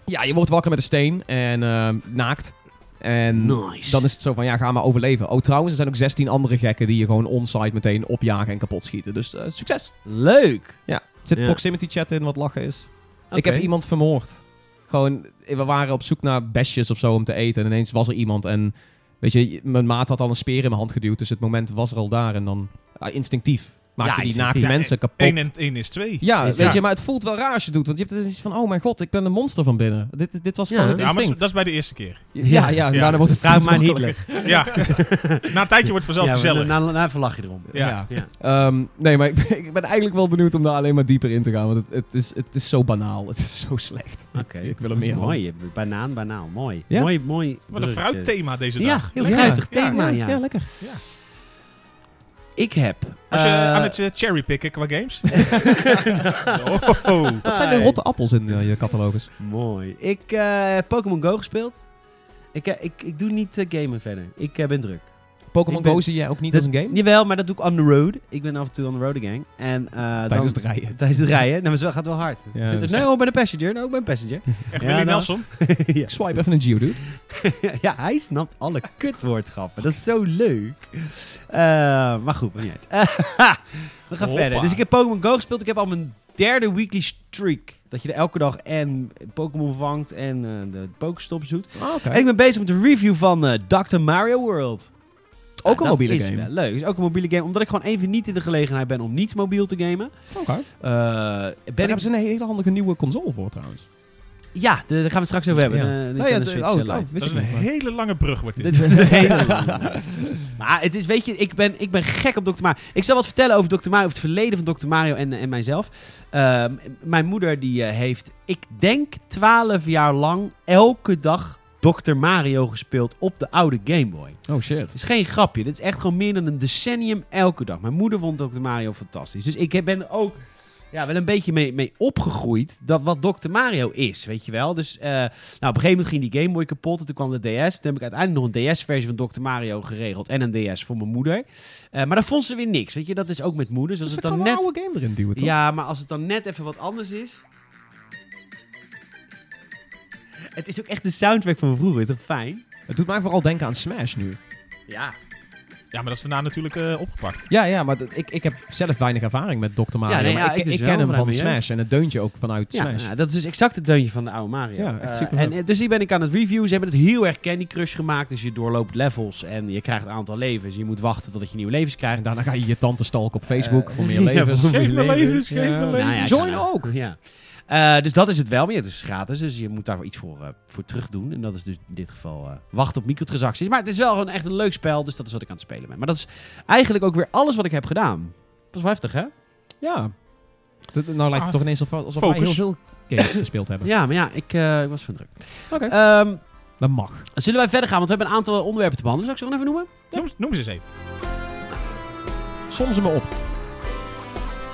[SPEAKER 3] ja, je wordt wakker met een steen en ehm, naakt. En
[SPEAKER 1] Nice.
[SPEAKER 3] dan is het zo van, ja, ga maar overleven. Oh, trouwens, er zijn ook 16 andere gekken die je gewoon onsite meteen opjagen en kapot schieten. Dus eh, succes.
[SPEAKER 1] Leuk.
[SPEAKER 3] Ja. Er Zit
[SPEAKER 1] Ja.
[SPEAKER 3] proximity chat in wat lachen is. Ik
[SPEAKER 1] Oké.
[SPEAKER 3] heb iemand vermoord. Gewoon, we waren op zoek naar besjes of zo om te eten. En ineens was er iemand. En weet je, mijn maat had al een speer in mijn hand geduwd. Dus het moment was er al daar. En dan ah, instinctief maak
[SPEAKER 1] Ja,
[SPEAKER 3] je die
[SPEAKER 1] instinctief.
[SPEAKER 3] naakte
[SPEAKER 2] Ja,
[SPEAKER 3] mensen kapot.
[SPEAKER 2] 1 en 1 is 2.
[SPEAKER 3] ja,
[SPEAKER 1] Is-
[SPEAKER 3] weet
[SPEAKER 1] ja.
[SPEAKER 3] je, maar het voelt wel raar als je het doet. Want je hebt dus iets van, oh mijn god, ik ben een monster van binnen. Dit, dit was
[SPEAKER 1] Ja.
[SPEAKER 3] gewoon het
[SPEAKER 2] Ja, maar dat is-
[SPEAKER 3] instinct.
[SPEAKER 2] dat is bij de eerste keer.
[SPEAKER 3] Ja, ja,
[SPEAKER 1] Ja.
[SPEAKER 3] en daarna wordt het
[SPEAKER 1] Vraag
[SPEAKER 3] steeds
[SPEAKER 1] maar aan
[SPEAKER 3] makkelijker.
[SPEAKER 1] Hitler.
[SPEAKER 2] Ja. Na een tijdje wordt vanzelf
[SPEAKER 1] Ja, nou,
[SPEAKER 2] gezellig.
[SPEAKER 1] na, na, na verlag je erom.
[SPEAKER 2] Ja.
[SPEAKER 3] Ja.
[SPEAKER 1] Ja.
[SPEAKER 3] Ehm, nee, maar ik ben, ik ben eigenlijk wel benieuwd om daar alleen maar dieper in te gaan. Want het, het, is, het is zo banaal. Het is zo slecht.
[SPEAKER 1] Oké.
[SPEAKER 3] Ik wil er meer van.
[SPEAKER 1] Mooi, je- banaan, banaan. Mooi.
[SPEAKER 3] Ja.
[SPEAKER 1] Mooi, mooi.
[SPEAKER 2] Wat een
[SPEAKER 1] bruggetje.
[SPEAKER 2] fruitthema deze
[SPEAKER 1] Ja,
[SPEAKER 2] dag.
[SPEAKER 1] heel
[SPEAKER 3] Lekker.
[SPEAKER 1] fruitig
[SPEAKER 2] Ja,
[SPEAKER 1] thema, ja.
[SPEAKER 3] ja, ja, lekker.
[SPEAKER 1] Ik heb...
[SPEAKER 2] Als je
[SPEAKER 1] eh,
[SPEAKER 2] aan het eh, cherrypicken qua games. oh, oh, oh.
[SPEAKER 3] Wat zijn de
[SPEAKER 1] Hi.
[SPEAKER 3] rotte appels in eh, je catalogus?
[SPEAKER 1] Mooi. Ik eh, heb Pokémon Go gespeeld. Ik, eh, ik, ik doe niet eh, gamen verder. Ik eh, ben druk.
[SPEAKER 3] Pokémon
[SPEAKER 1] Ik ben-
[SPEAKER 3] Go zie jij ook niet
[SPEAKER 1] Dat-
[SPEAKER 3] als een game?
[SPEAKER 1] Jawel, maar dat doe ik on the road. Ik ben af en toe on the road gang. En, eh, dan-
[SPEAKER 3] Tijdens het rijden.
[SPEAKER 1] Tijdens het rijden. Nou, maar het gaat wel hard.
[SPEAKER 3] Ja,
[SPEAKER 1] Dus-
[SPEAKER 3] dus-
[SPEAKER 1] nee, oh, ik ben een passenger. Nou, ik ben een passenger.
[SPEAKER 2] Echt
[SPEAKER 1] Ja,
[SPEAKER 2] Willy
[SPEAKER 1] nou.
[SPEAKER 2] Nelson?
[SPEAKER 1] ja.
[SPEAKER 3] Ik swipe even een Geodude.
[SPEAKER 1] ja, hij snapt alle kutwoordgrappen. Dat is zo leuk. Eh, maar goed, maakt niet uit. We gaan
[SPEAKER 2] Hoppa.
[SPEAKER 1] verder. Dus ik heb Pokémon Go gespeeld. Ik heb al mijn derde weekly streak. Dat je er elke dag en Pokémon vangt en eh, de Pokéstops doet.
[SPEAKER 3] Ah, oké.
[SPEAKER 1] En ik ben bezig met de review van eh, Dr. Mario World.
[SPEAKER 3] Ook een
[SPEAKER 1] dat
[SPEAKER 3] mobiele
[SPEAKER 1] is
[SPEAKER 3] game.
[SPEAKER 1] wel leuk. Is ook een mobiele game. Omdat ik gewoon even niet in de gelegenheid ben om niet mobiel te gamen.
[SPEAKER 3] Oké. Daar
[SPEAKER 1] Eh, ben ik...
[SPEAKER 3] hebben ze een hele handige nieuwe console voor trouwens.
[SPEAKER 1] Ja, de- daar gaan we het straks over hebben.
[SPEAKER 3] Ja.
[SPEAKER 1] Eh,
[SPEAKER 3] Nou ja,
[SPEAKER 1] Nintendo
[SPEAKER 3] de-
[SPEAKER 1] Switch
[SPEAKER 3] oh,
[SPEAKER 1] eh,
[SPEAKER 3] oh,
[SPEAKER 1] Lite.
[SPEAKER 3] wist
[SPEAKER 2] Dat is
[SPEAKER 3] ik
[SPEAKER 2] een
[SPEAKER 3] niet. maar-
[SPEAKER 2] hele lange brug wordt dit.
[SPEAKER 1] Dit is een hele lange. Maar het is, weet je, ik ben, ik ben gek op Dr. Mario. Ik zal wat vertellen over Dr. Mario, over het verleden van Dr. Mario en, en mijzelf. Ehm, mijn moeder die eh, heeft, ik denk, 12 jaar lang elke dag Dr. Mario gespeeld op de oude Game Boy.
[SPEAKER 3] Oh shit.
[SPEAKER 1] Het is geen grapje. Dit is echt gewoon meer dan een decennium elke dag. Mijn moeder vond Dr. Mario fantastisch. Dus ik ben er ook ja, wel een beetje mee, mee opgegroeid dat wat Dr. Mario is, weet je wel. Dus eh, nou, op een gegeven moment ging die Game Boy kapot en toen kwam de DS. Toen heb ik uiteindelijk nog een DS-versie van Dr. Mario geregeld en een DS voor mijn moeder. Eh, maar daar vond ze weer niks, weet je. Dat is ook met moeders. Als
[SPEAKER 3] Dus
[SPEAKER 1] het
[SPEAKER 3] dan
[SPEAKER 1] dan
[SPEAKER 3] kan
[SPEAKER 1] net...
[SPEAKER 3] een oude game erin duwen, toch?
[SPEAKER 1] Ja, maar als het dan net even wat anders is... Het is ook echt de soundtrack van vroeger, is toch fijn?
[SPEAKER 3] Het doet mij vooral denken aan Smash nu.
[SPEAKER 1] Ja.
[SPEAKER 2] Ja, maar dat is daarna natuurlijk eh, opgepakt.
[SPEAKER 3] Ja, ja, maar dat- ik, ik heb zelf weinig ervaring met Dr. Mario.
[SPEAKER 1] nee, ja,
[SPEAKER 3] maar ik,
[SPEAKER 1] ik dus wel,
[SPEAKER 3] ken hem van
[SPEAKER 1] Remy, hè?
[SPEAKER 3] Smash en het deuntje ook vanuit
[SPEAKER 1] Ja,
[SPEAKER 3] Smash.
[SPEAKER 1] nou, dat is dus exact het deuntje van de oude Mario.
[SPEAKER 3] Ja, echt
[SPEAKER 1] Eh,
[SPEAKER 3] super
[SPEAKER 1] en,
[SPEAKER 3] vet.
[SPEAKER 1] eh, dus die ben ik aan het reviewen. Ze hebben het heel erg Candy Crush gemaakt. Dus je doorloopt levels en je krijgt een aantal levens. Je moet wachten totdat je nieuwe levens
[SPEAKER 3] En
[SPEAKER 1] krijgt.
[SPEAKER 3] daarna ga je je tante stalken op Facebook
[SPEAKER 1] Eh,
[SPEAKER 3] voor meer
[SPEAKER 1] ja,
[SPEAKER 3] levens.
[SPEAKER 1] voor
[SPEAKER 2] Geef me levens,
[SPEAKER 3] Ja.
[SPEAKER 2] geef me
[SPEAKER 3] Nou
[SPEAKER 2] levens.
[SPEAKER 1] ja, ik
[SPEAKER 3] Join
[SPEAKER 1] kan
[SPEAKER 3] ook.
[SPEAKER 1] Ja. Eh, dus dat is het wel. Maar ja, het is gratis. Dus je moet daar iets voor, eh, voor terug doen. En dat is dus in dit geval eh, wachten op microtransacties. Maar het is wel gewoon echt een leuk spel. Dus dat is wat ik aan het spelen ben. Maar dat is eigenlijk ook weer alles wat ik heb gedaan. Dat is wel heftig, hè?
[SPEAKER 3] Ja. Dat- nou lijkt het
[SPEAKER 2] Ah,
[SPEAKER 3] toch ineens alsof, alsof wij heel
[SPEAKER 2] focus.
[SPEAKER 3] veel games gespeeld hebben.
[SPEAKER 1] Ja, maar ja, ik, eh, ik was van druk.
[SPEAKER 3] Oké.
[SPEAKER 1] Ehm,
[SPEAKER 3] Dat mag.
[SPEAKER 1] zullen wij verder gaan? Want we hebben een aantal onderwerpen te behandelen. Zal ik ze gewoon even noemen?
[SPEAKER 2] Noem, noem ze eens even.
[SPEAKER 3] Soms hem op.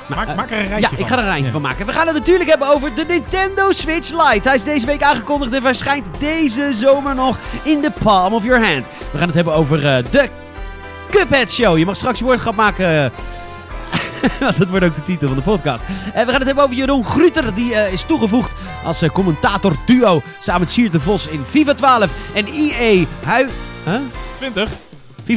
[SPEAKER 2] Maak,
[SPEAKER 1] eh,
[SPEAKER 2] maak er een
[SPEAKER 1] Ja,
[SPEAKER 2] rijtje
[SPEAKER 1] ik
[SPEAKER 2] van.
[SPEAKER 1] ga er een rijtje
[SPEAKER 3] Ja.
[SPEAKER 1] van maken. We gaan het natuurlijk hebben over de Nintendo Switch Lite. Hij is deze week aangekondigd en verschijnt deze zomer nog in de palm of your hand. We gaan het hebben over eh, de Cuphead Show. Je mag straks je woordgrap maken. Want dat wordt ook de titel van de podcast. En we gaan het hebben over Jeroen Gruter. Die eh, is toegevoegd als eh, commentator duo samen met Siert de Vos in FIFA 12. En E EA Hui... Huh?
[SPEAKER 2] 20.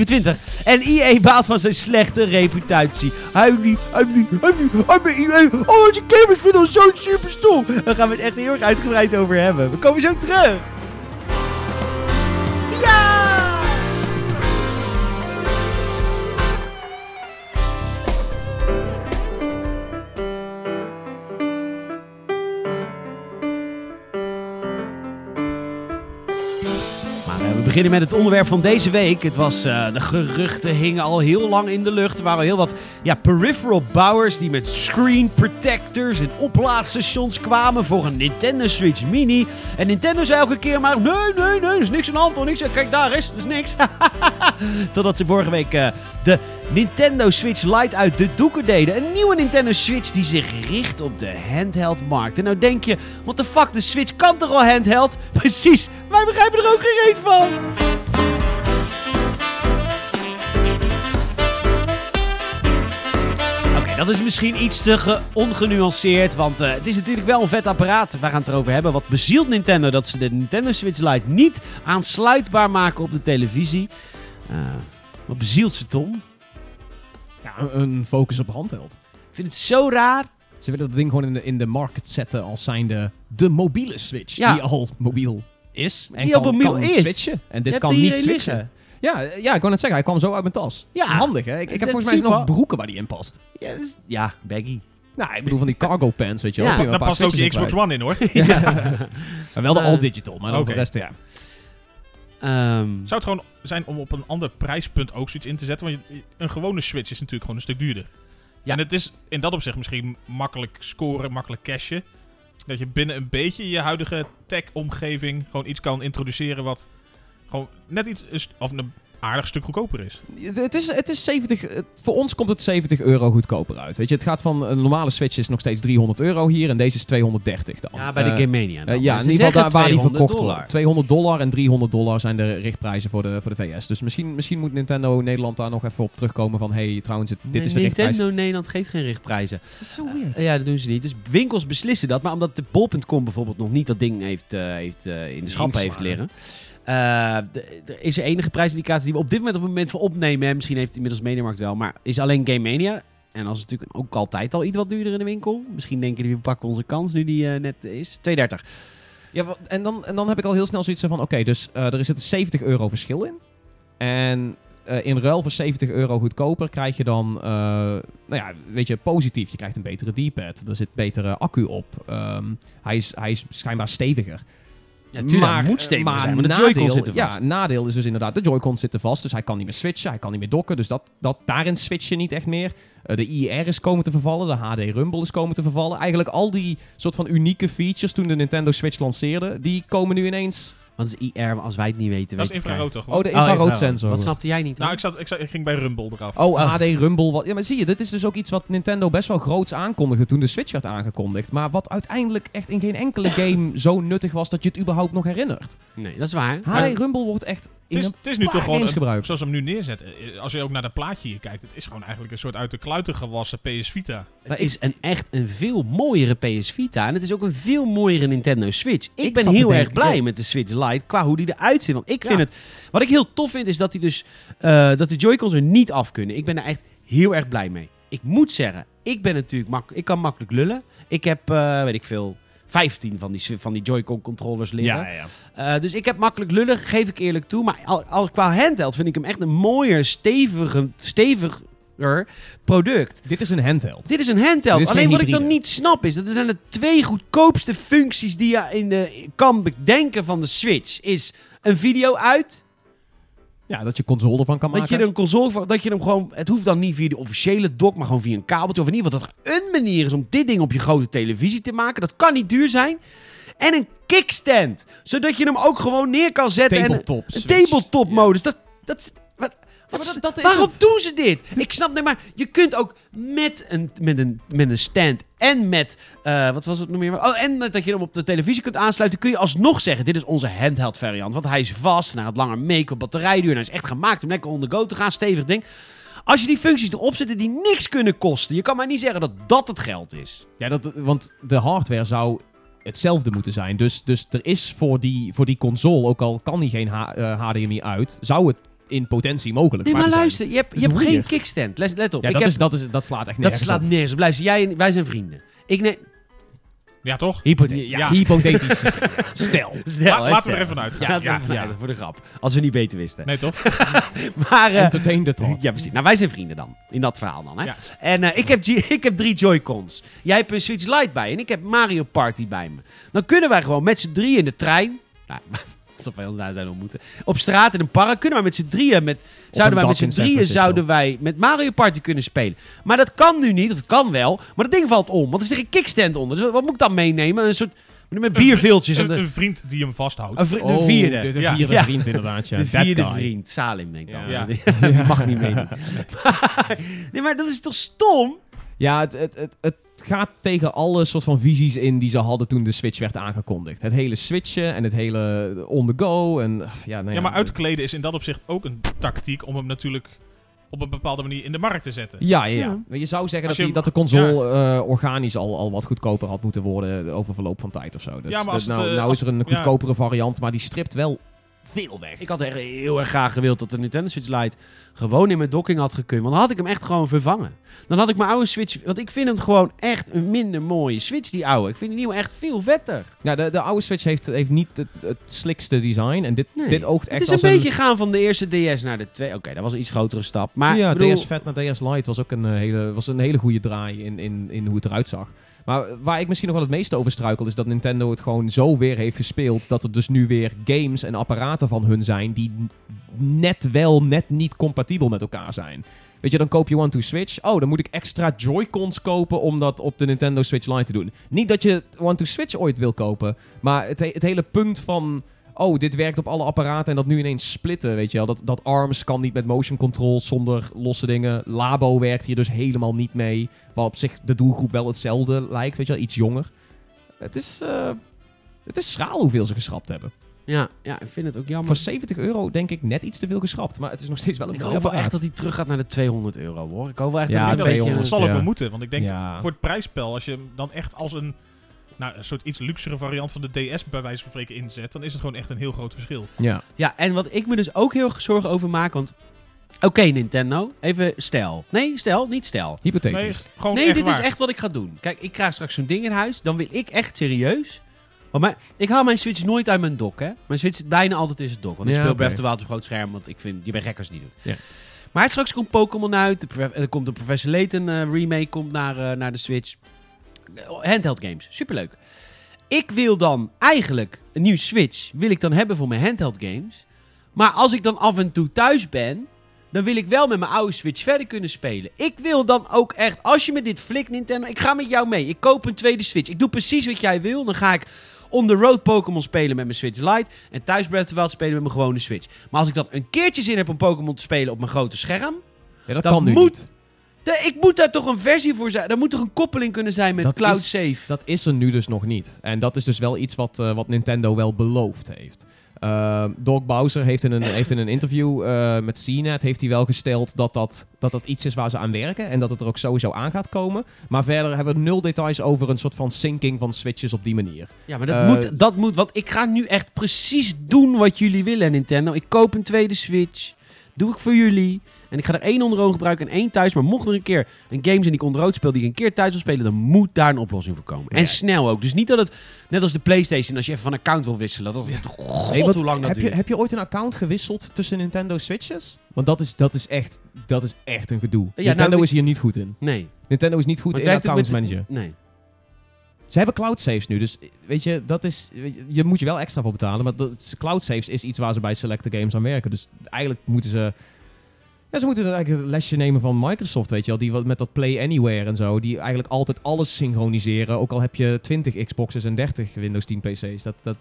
[SPEAKER 1] 25. En IE baalt van zijn slechte reputatie. Huilie, huilie, huilie, huilie, IE. Oh, onze gamers vinden ons zo super stom. Daar gaan we het echt heel erg uitgebreid over hebben. We komen zo terug. Ja! Maar eh, we beginnen met het onderwerp van deze week. Het was, eh, de geruchten hingen al heel lang in de lucht. Er waren heel wat ja, peripheral bouwers die met screen protectors en oplaadstations kwamen voor een Nintendo Switch Mini. En Nintendo zei elke keer maar, nee, nee, nee, er is niks aan de hand. hoor, Niks. Kijk, daar is, er is niks. Totdat ze vorige week eh, de Nintendo Switch Lite uit de doeken deden. Een nieuwe Nintendo Switch die zich richt op de handheldmarkt. En nou denk je, what the fuck, de Switch kan toch al handheld? Precies, wij begrijpen er ook geen reet van. Oké, dat is misschien iets te ge- ongenuanceerd, want eh, het is natuurlijk wel een vet apparaat. We gaan het erover hebben. Wat bezielt Nintendo dat ze de Nintendo Switch Lite niet aansluitbaar maken op de televisie? Eh, wat bezielt ze, Tom?
[SPEAKER 3] Ja, een- een focus op handheld.
[SPEAKER 1] Ik vind het zo raar.
[SPEAKER 3] Ze willen dat ding gewoon in de, in de market zetten als zijnde de mobiele Switch.
[SPEAKER 1] Ja.
[SPEAKER 3] Die al mobiel is. En
[SPEAKER 1] Die
[SPEAKER 3] kan,
[SPEAKER 1] al mobiel
[SPEAKER 3] kan
[SPEAKER 1] is.
[SPEAKER 3] switchen. En dit
[SPEAKER 1] Je hebt
[SPEAKER 3] kan
[SPEAKER 1] er
[SPEAKER 3] niet
[SPEAKER 1] hierin
[SPEAKER 3] switchen.
[SPEAKER 1] liggen.
[SPEAKER 3] Ja, ja, ik wou net zeggen, hij kwam zo uit mijn tas.
[SPEAKER 1] Ja.
[SPEAKER 3] Handig, hè? Ik,
[SPEAKER 1] Is
[SPEAKER 3] ik
[SPEAKER 1] dat
[SPEAKER 3] heb volgens mij
[SPEAKER 1] super?
[SPEAKER 3] nog broeken waar die in past.
[SPEAKER 1] Ja, dat is- Ja, baggy.
[SPEAKER 3] Nou, ik bedoel van die cargo pants, weet je wel.
[SPEAKER 1] Ja.
[SPEAKER 3] Kun je
[SPEAKER 2] Daar
[SPEAKER 3] een paar
[SPEAKER 2] past ook die
[SPEAKER 3] switches in
[SPEAKER 2] Xbox One in hoor.
[SPEAKER 3] kwijt. Ja. Maar wel de
[SPEAKER 1] Eh,
[SPEAKER 3] all-digital, maar dan
[SPEAKER 2] oké.
[SPEAKER 3] de rest, ja.
[SPEAKER 1] Ehm,
[SPEAKER 2] Zou het gewoon zijn om op een ander prijspunt ook zoiets in te zetten? Want je- een gewone Switch is natuurlijk gewoon een stuk duurder.
[SPEAKER 1] Ja.
[SPEAKER 2] En het is in dat opzicht misschien makkelijk scoren, makkelijk cashen. Dat je binnen een beetje je huidige tech-omgeving gewoon iets kan introduceren wat gewoon net iets, een st- of een aardig stuk goedkoper is.
[SPEAKER 3] Het- Het is, het is 70, het- voor ons komt het 70 euro goedkoper uit. Weet je, het gaat van een normale Switch is nog steeds 300 euro hier en deze is 230 dan.
[SPEAKER 1] ja, bij de
[SPEAKER 3] Eh,
[SPEAKER 1] Game Mania. dan.
[SPEAKER 3] eh, ja,
[SPEAKER 1] Ze
[SPEAKER 3] in ieder geval
[SPEAKER 1] zeggen
[SPEAKER 3] daar waar die
[SPEAKER 1] 200
[SPEAKER 3] verkocht
[SPEAKER 1] dollar.
[SPEAKER 3] wordt. 200 dollar en 300 dollar zijn de richtprijzen voor de, voor de VS. Dus misschien, misschien moet Nintendo Nederland daar nog even op terugkomen van... hey, trouwens, dit dit is de richtprijs.
[SPEAKER 1] Nintendo Nederland geeft geen richtprijzen.
[SPEAKER 3] Dat is zo weird.
[SPEAKER 1] Ja, dat doen ze niet. Dus winkels beslissen dat. Maar omdat de bol.com bijvoorbeeld nog niet dat ding heeft, eh, heeft, eh, in de schap heeft
[SPEAKER 3] Ingeslagen.
[SPEAKER 1] liggen. eh, d- er is er enige prijsindicatie die we op dit moment op het moment van opnemen. hè. Misschien heeft inmiddels Mediamarkt wel. Maar is alleen Game Mania. En als natuurlijk ook altijd al iets wat duurder in de winkel. Misschien denken die we pakken onze kans nu die eh, net is. 2,30.
[SPEAKER 3] Ja, wa- en dan, en dan heb ik al heel snel zoiets van... oké, dus eh, er zit een 70 euro verschil in. En eh, in ruil voor 70 euro goedkoper krijg je dan... eh, nou ja, weet je, positief. Je krijgt een betere D-pad. Er zit betere accu op. Ehm, hij, is, hij is schijnbaar steviger.
[SPEAKER 1] maar, moet
[SPEAKER 3] eh,
[SPEAKER 1] stevig
[SPEAKER 3] maar
[SPEAKER 1] zijn, want de
[SPEAKER 3] nadeel-
[SPEAKER 1] Joy-Con zitten vast.
[SPEAKER 3] Ja, nadeel is dus inderdaad... de Joy-Cons zitten vast, dus hij kan niet meer switchen. Hij kan niet meer docken, dus dat, dat, daarin switch je niet echt meer. Eh, de IR is komen te vervallen, de HD Rumble is komen te vervallen. Eigenlijk al die soort van unieke features toen de Nintendo Switch lanceerde... die komen nu ineens...
[SPEAKER 1] Want het is IR, maar als wij het niet weten,
[SPEAKER 2] Dat is
[SPEAKER 1] weet ik
[SPEAKER 2] infrarood toch?
[SPEAKER 3] Oh, de
[SPEAKER 1] Oh,
[SPEAKER 3] infraroodsensor.
[SPEAKER 1] Wat snapte jij niet?
[SPEAKER 2] nou,
[SPEAKER 1] hoor?
[SPEAKER 2] ik, zat, ik, zat- ik ging bij Rumble eraf.
[SPEAKER 3] Oh, HD Rumble. Wat, ja, maar zie je, dit is dus ook iets wat Nintendo best wel groots aankondigde toen de Switch werd aangekondigd. Maar wat uiteindelijk echt in geen enkele game zo nuttig was dat je het überhaupt nog herinnert.
[SPEAKER 1] Nee, dat is waar. Maar-
[SPEAKER 3] HD Rumble wordt echt in
[SPEAKER 2] het is,
[SPEAKER 3] een
[SPEAKER 2] het is nu
[SPEAKER 3] paar
[SPEAKER 2] toch gewoon,
[SPEAKER 3] games
[SPEAKER 2] een-
[SPEAKER 3] gebruikt.
[SPEAKER 2] zoals we hem nu neerzetten, eh, als je ook naar dat plaatje hier kijkt, het is gewoon eigenlijk een soort uit de kluiten gewassen PS Vita.
[SPEAKER 1] Het is een, echt een veel mooiere PS Vita. En het is ook een veel mooiere Nintendo Switch. Ik,
[SPEAKER 3] Ik
[SPEAKER 1] ben
[SPEAKER 3] zat te
[SPEAKER 1] heel
[SPEAKER 3] denken,
[SPEAKER 1] erg blij
[SPEAKER 3] joh.
[SPEAKER 1] met de Switch Lite qua hoe die eruit ziet. Want ik vind
[SPEAKER 3] Ja.
[SPEAKER 1] het... Wat ik heel tof vind is dat, die dus, eh, dat de Joy-Cons er niet af kunnen. Ik ben er echt heel erg blij mee. Ik moet zeggen, ik ben natuurlijk mak ik kan makkelijk lullen. Ik heb, eh, weet ik veel, 15 van die, van die Joy-Con controllers liggen.
[SPEAKER 2] ja.
[SPEAKER 1] Eh, dus ik heb makkelijk lullen, geef ik eerlijk toe. Maar al, al- qua handheld vind ik hem echt een mooier, steviger, steviger product.
[SPEAKER 3] Dit is een handheld.
[SPEAKER 1] Dit is een handheld.
[SPEAKER 3] Dit is
[SPEAKER 1] Alleen
[SPEAKER 3] geen
[SPEAKER 1] wat ik dan
[SPEAKER 3] hybride.
[SPEAKER 1] niet snap is, dat zijn de twee goedkoopste functies die je in de, kan bedenken van de Switch. Is een video uit,
[SPEAKER 3] Ja, dat je console ervan kan
[SPEAKER 1] dat je
[SPEAKER 3] maken.
[SPEAKER 1] er een console van, dat je hem gewoon, het hoeft dan niet via de officiële dock, maar gewoon via een kabeltje of in ieder geval dat er een manier is om dit ding op je grote televisie te maken. Dat kan niet duur zijn. En een kickstand, zodat je hem ook gewoon neer kan zetten. en-
[SPEAKER 3] tabletop
[SPEAKER 1] een
[SPEAKER 3] Switch.
[SPEAKER 1] tabletop modus. Dat, dat, is- wat, wat
[SPEAKER 3] maar dat-
[SPEAKER 1] is-
[SPEAKER 3] dat is
[SPEAKER 1] waarom
[SPEAKER 3] het.
[SPEAKER 1] doen ze dit? Ik snap nee, maar je kunt ook met een, met een, met een stand en met, eh, wat was het nog meer? Oh, en met dat je hem op de televisie kunt aansluiten, kun je alsnog zeggen, dit is onze handheld variant. Want hij is vast en hij had langer mee qua batterijduur en hij is echt gemaakt om lekker on the go te gaan, stevig ding. Als je die functies erop zet die niks kunnen kosten, je kan maar niet zeggen dat dat het geld is.
[SPEAKER 3] Ja, dat, want de hardware zou hetzelfde moeten zijn. Dus, dus er is voor die, voor die console, ook al kan die geen H- eh, HDMI uit, zou het in potentie mogelijk
[SPEAKER 1] Nee, maar
[SPEAKER 3] zijn.
[SPEAKER 1] luister, je hebt, je
[SPEAKER 3] Dat is
[SPEAKER 1] hebt geen
[SPEAKER 3] weird.
[SPEAKER 1] kickstand. Let, let op.
[SPEAKER 3] Ja,
[SPEAKER 1] Ik
[SPEAKER 3] dat,
[SPEAKER 1] heb-
[SPEAKER 3] is, dat, is, dat slaat echt
[SPEAKER 1] dat
[SPEAKER 3] nergens
[SPEAKER 1] slaat
[SPEAKER 3] op.
[SPEAKER 1] nergens op. Luister, jij en, wij zijn vrienden. Ik neem...
[SPEAKER 2] Ja, toch?
[SPEAKER 1] Hypothetisch.
[SPEAKER 2] Ja.
[SPEAKER 3] Hypothetisch gezien. Stel.
[SPEAKER 1] Stel,
[SPEAKER 2] La-
[SPEAKER 1] hè,
[SPEAKER 2] laten
[SPEAKER 1] stel.
[SPEAKER 2] we er even vanuit gaan.
[SPEAKER 1] Ja, laten we er vanuit
[SPEAKER 2] Ja, ja.
[SPEAKER 1] gaan, voor de grap. Als we niet beter wisten.
[SPEAKER 2] Nee, toch?
[SPEAKER 1] Maar, eh,
[SPEAKER 3] Entertain the thought.
[SPEAKER 1] ja, precies. Nou, wij zijn vrienden dan. In dat verhaal dan, hè.
[SPEAKER 2] Ja.
[SPEAKER 1] En eh, ik, heb G- ik heb drie Joy-Cons. Jij hebt een Switch Lite bij en ik heb Mario Party bij me. Dan kunnen wij gewoon met z'n drieën in de trein... Nou, alsof wij ons daar zijn ontmoeten. Op straat in een park kunnen wij met z'n drieën... Met, zouden wij met
[SPEAKER 3] dak
[SPEAKER 1] z'n
[SPEAKER 3] in San
[SPEAKER 1] drieën
[SPEAKER 3] Francisco.
[SPEAKER 1] zouden wij met Mario Party kunnen spelen. Maar dat kan nu niet, of het kan wel. Maar dat ding valt om, want er is er een kickstand onder. Dus wat wat moet ik dan meenemen? Een soort... Met bierviltjes. aan
[SPEAKER 2] Een,
[SPEAKER 1] de-
[SPEAKER 2] een vriend die hem vasthoudt.
[SPEAKER 1] een vri-
[SPEAKER 3] Oh,
[SPEAKER 1] de vierde.
[SPEAKER 3] De, de
[SPEAKER 2] Ja.
[SPEAKER 3] vierde
[SPEAKER 1] Ja.
[SPEAKER 3] vriend inderdaad, ja.
[SPEAKER 1] De
[SPEAKER 3] That
[SPEAKER 1] vierde
[SPEAKER 3] guy.
[SPEAKER 1] vriend. Salim, denk ik dan.
[SPEAKER 2] Ja.
[SPEAKER 1] Die mag niet meedoen. Maar- nee, maar dat is toch stom?
[SPEAKER 3] Ja, het, het, het, het gaat tegen alle soort van visies in die ze hadden toen de Switch werd aangekondigd. Het hele switchen en het hele on the go en... Ja, nou ja,
[SPEAKER 2] ja, maar uitkleden is in dat opzicht ook een tactiek om hem natuurlijk op een bepaalde manier in de markt te zetten.
[SPEAKER 3] Ja, ja, ja.
[SPEAKER 1] Ja.
[SPEAKER 3] Maar Je zou zeggen
[SPEAKER 2] Als
[SPEAKER 3] dat,
[SPEAKER 2] je
[SPEAKER 3] die, dat de console eh, organisch al, al wat goedkoper had moeten worden eh, over verloop van tijd of zo. Dus,
[SPEAKER 2] Ja, maar
[SPEAKER 3] dat-
[SPEAKER 2] als het,
[SPEAKER 3] nou,
[SPEAKER 2] eh,
[SPEAKER 3] nou
[SPEAKER 2] als-
[SPEAKER 3] is er een
[SPEAKER 2] ja.
[SPEAKER 3] goedkopere variant, maar die stript wel veel weg.
[SPEAKER 1] Ik had echt heel erg graag gewild dat de Nintendo Switch Lite gewoon in mijn docking had gekund. Want dan had ik hem echt gewoon vervangen. Dan had ik mijn oude Switch... Want ik vind hem gewoon echt een minder mooie Switch, die oude. Ik vind die nieuwe echt veel vetter.
[SPEAKER 3] Ja, Nou, de, de oude Switch heeft, heeft niet het, het slikste design. En dit,
[SPEAKER 1] Nee.
[SPEAKER 3] dit oogt echt
[SPEAKER 1] Het is een
[SPEAKER 3] als
[SPEAKER 1] beetje gaan van de eerste DS naar de tweede. Oké, dat was een iets grotere stap. Maar
[SPEAKER 3] ja,
[SPEAKER 1] ik bedoel,
[SPEAKER 3] DS Fat naar DS Lite was ook een eh, hele, was een hele goede draai in, in, in hoe het eruit zag. Maar eh, waar ik misschien nog wel het meeste over struikel is dat Nintendo het gewoon zo weer heeft gespeeld. Dat er dus nu weer games en apparaten van hun zijn die n- net wel, net niet compatibel met elkaar zijn. Weet je, dan koop je One to Switch. Oh, dan moet ik extra Joy-Cons kopen om dat op de Nintendo Switch Lite te doen. Niet dat je One to Switch ooit wil kopen, maar het, he- het hele punt van... Oh, dit werkt op alle apparaten en dat nu ineens splitten, weet je wel. Dat, dat ARMS kan niet met motion control zonder losse dingen. Labo werkt hier dus helemaal niet mee. Waar op zich de doelgroep wel hetzelfde lijkt, weet je wel. Iets jonger. Het is, eh, het is schraal hoeveel ze geschrapt hebben.
[SPEAKER 1] ja, ja, ik vind het ook jammer.
[SPEAKER 3] Voor 70 euro denk ik net iets te veel geschrapt. Maar het is nog steeds wel een
[SPEAKER 1] Ik
[SPEAKER 3] mooi
[SPEAKER 1] hoop wel
[SPEAKER 3] apparaat.
[SPEAKER 1] echt dat hij terug gaat naar de 200 euro, hoor. Ik hoop wel echt
[SPEAKER 3] Ja,
[SPEAKER 1] dat
[SPEAKER 2] Ik
[SPEAKER 1] het
[SPEAKER 2] denk
[SPEAKER 1] een
[SPEAKER 2] dat- dat
[SPEAKER 3] 200,
[SPEAKER 1] beetje...
[SPEAKER 2] zal ook
[SPEAKER 3] ja.
[SPEAKER 2] wel moeten, want ik denk
[SPEAKER 3] Ja.
[SPEAKER 2] voor het prijsspel, als je hem dan echt als een, nou, een soort iets luxere variant van de DS bij wijze van spreken inzet, dan is het gewoon echt een heel groot verschil.
[SPEAKER 3] Ja.
[SPEAKER 1] Ja, en wat ik me dus ook heel erg zorgen over maak, want... Oké, Nintendo, even stel. Nee, stel, niet stel.
[SPEAKER 3] Hypothetisch.
[SPEAKER 2] Nee, gewoon
[SPEAKER 1] Nee,
[SPEAKER 2] Oh, echt
[SPEAKER 1] dit
[SPEAKER 2] waar.
[SPEAKER 1] is echt wat ik ga doen. Kijk, ik krijg straks zo'n ding in huis. Dan wil ik echt serieus. Want mijn, ik haal mijn Switch nooit uit mijn dock, hè. Mijn Switch zit bijna altijd in zijn dock. Want ik
[SPEAKER 3] Ja,
[SPEAKER 1] speel
[SPEAKER 3] oké.
[SPEAKER 1] Breath of the Wild op groot scherm. Want ik vind, je bent gek als je het niet doet.
[SPEAKER 3] Ja.
[SPEAKER 1] Maar straks komt Pokémon uit. de prof- Er komt een Professor Layton eh, remake komt naar, eh, naar de Switch. Eh, Handheld games, superleuk. Ik wil dan eigenlijk een nieuw Switch wil ik dan hebben voor mijn handheld games. Maar als ik dan af en toe thuis ben, dan wil ik wel met mijn oude Switch verder kunnen spelen. Ik wil dan ook echt, als je me dit flikt Nintendo, ik ga met jou mee. Ik koop een tweede Switch. Ik doe precies wat jij wil. Dan ga ik on the road Pokémon spelen met mijn Switch Lite. En thuis Breath of the Wild spelen met mijn gewone Switch. Maar als ik dan een keertje zin heb om Pokémon te spelen op mijn grote scherm.
[SPEAKER 3] Ja, dat,
[SPEAKER 1] Dat
[SPEAKER 3] kan nu
[SPEAKER 1] moet
[SPEAKER 3] niet.
[SPEAKER 1] dan- ik moet daar toch een versie voor zijn. Daar moet toch een koppeling kunnen zijn met Cloud
[SPEAKER 3] is,
[SPEAKER 1] Save.
[SPEAKER 3] Dat is er nu dus nog niet. En dat is dus wel iets wat, eh, wat Nintendo wel beloofd heeft. Ehm Doc Bowser heeft in een, heeft in een interview eh, met CNET heeft hij wel gesteld dat dat, dat dat iets is waar ze aan werken. En dat het er ook sowieso aan gaat komen. Maar verder hebben we nul details over een soort van syncing van switches op die manier.
[SPEAKER 1] Ja, maar dat,
[SPEAKER 3] Eh,
[SPEAKER 1] moet, dat moet. Want ik ga nu echt precies doen wat jullie willen, Nintendo. Ik koop een tweede Switch. Doe ik voor jullie. En ik ga er één onder ogen gebruiken en één thuis. Maar mocht er een keer een game zijn die ik onder oog speel, die ik een keer thuis wil spelen, dan moet daar een oplossing voor komen. En
[SPEAKER 3] Ja.
[SPEAKER 1] snel ook. Dus niet dat het, net als de PlayStation, als je even van account wil wisselen, dat god,
[SPEAKER 3] Nee, want
[SPEAKER 1] hoe lang dat
[SPEAKER 3] heb je,
[SPEAKER 1] duurt.
[SPEAKER 3] heb je ooit een account gewisseld tussen Nintendo Switches? Want dat is, dat is, echt, dat is echt een gedoe.
[SPEAKER 1] nou,
[SPEAKER 3] Nintendo
[SPEAKER 1] ik-
[SPEAKER 3] is hier niet goed in.
[SPEAKER 1] Nee.
[SPEAKER 3] Nintendo is niet goed
[SPEAKER 1] Want
[SPEAKER 3] in
[SPEAKER 1] werkt het
[SPEAKER 3] accounts
[SPEAKER 1] met-
[SPEAKER 3] managen.
[SPEAKER 1] Nee.
[SPEAKER 3] Ze hebben cloud saves nu, dus eh, weet je, dat is, weet je, je moet je wel extra voor betalen. Maar dat, cloud saves is iets waar ze bij selecte games aan werken. Dus eigenlijk moeten ze, ja, ze moeten eigenlijk een lesje nemen van Microsoft, weet je wel. Die wat met dat Play Anywhere en zo, die eigenlijk altijd alles synchroniseren. Ook al heb je 20 Xboxes en 30 Windows 10 PC's. Dat, dat,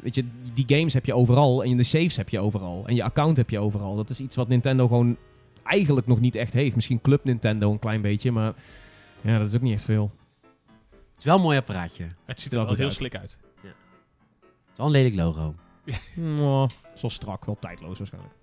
[SPEAKER 3] weet je, die games heb je overal en de saves heb je overal. En je account heb je overal. Dat is iets wat Nintendo gewoon eigenlijk nog niet echt heeft. Misschien Club Nintendo een klein beetje, maar ja, dat is ook niet echt veel.
[SPEAKER 1] Het is wel een mooi apparaatje. Het
[SPEAKER 2] Het ziet
[SPEAKER 3] wel
[SPEAKER 2] er wel
[SPEAKER 3] goed
[SPEAKER 2] heel
[SPEAKER 3] uit.
[SPEAKER 2] slik uit.
[SPEAKER 1] is wel een lelijk logo.
[SPEAKER 3] Nou, zo strak, wel tijdloos waarschijnlijk.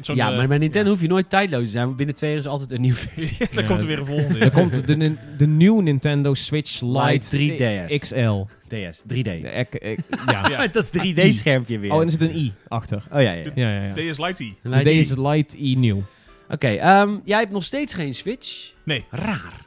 [SPEAKER 2] Zo'n,
[SPEAKER 1] ja,
[SPEAKER 2] eh,
[SPEAKER 1] maar bij Nintendo hoef je nooit tijdloos te zijn. Want binnen twee jaar is altijd een nieuwe versie.
[SPEAKER 2] ja, dan
[SPEAKER 3] Ja.
[SPEAKER 2] komt er weer een volgende.
[SPEAKER 3] Er komt de, nin- de nieuwe Nintendo Switch Lite,
[SPEAKER 1] Lite 3DS.
[SPEAKER 3] XL.
[SPEAKER 1] DS, 3D.
[SPEAKER 3] Ja, ek- ek- ja.
[SPEAKER 2] Ja.
[SPEAKER 1] Dat 3D-schermpje weer.
[SPEAKER 3] Oh, en er zit een i achter.
[SPEAKER 1] Oh ja, ja.
[SPEAKER 3] Ja, ja, ja. De
[SPEAKER 2] DS Lite.
[SPEAKER 1] Lite
[SPEAKER 3] DS Lite i nieuw.
[SPEAKER 1] Oké, ehm, jij hebt nog steeds geen Switch.
[SPEAKER 2] Nee.
[SPEAKER 1] Raar.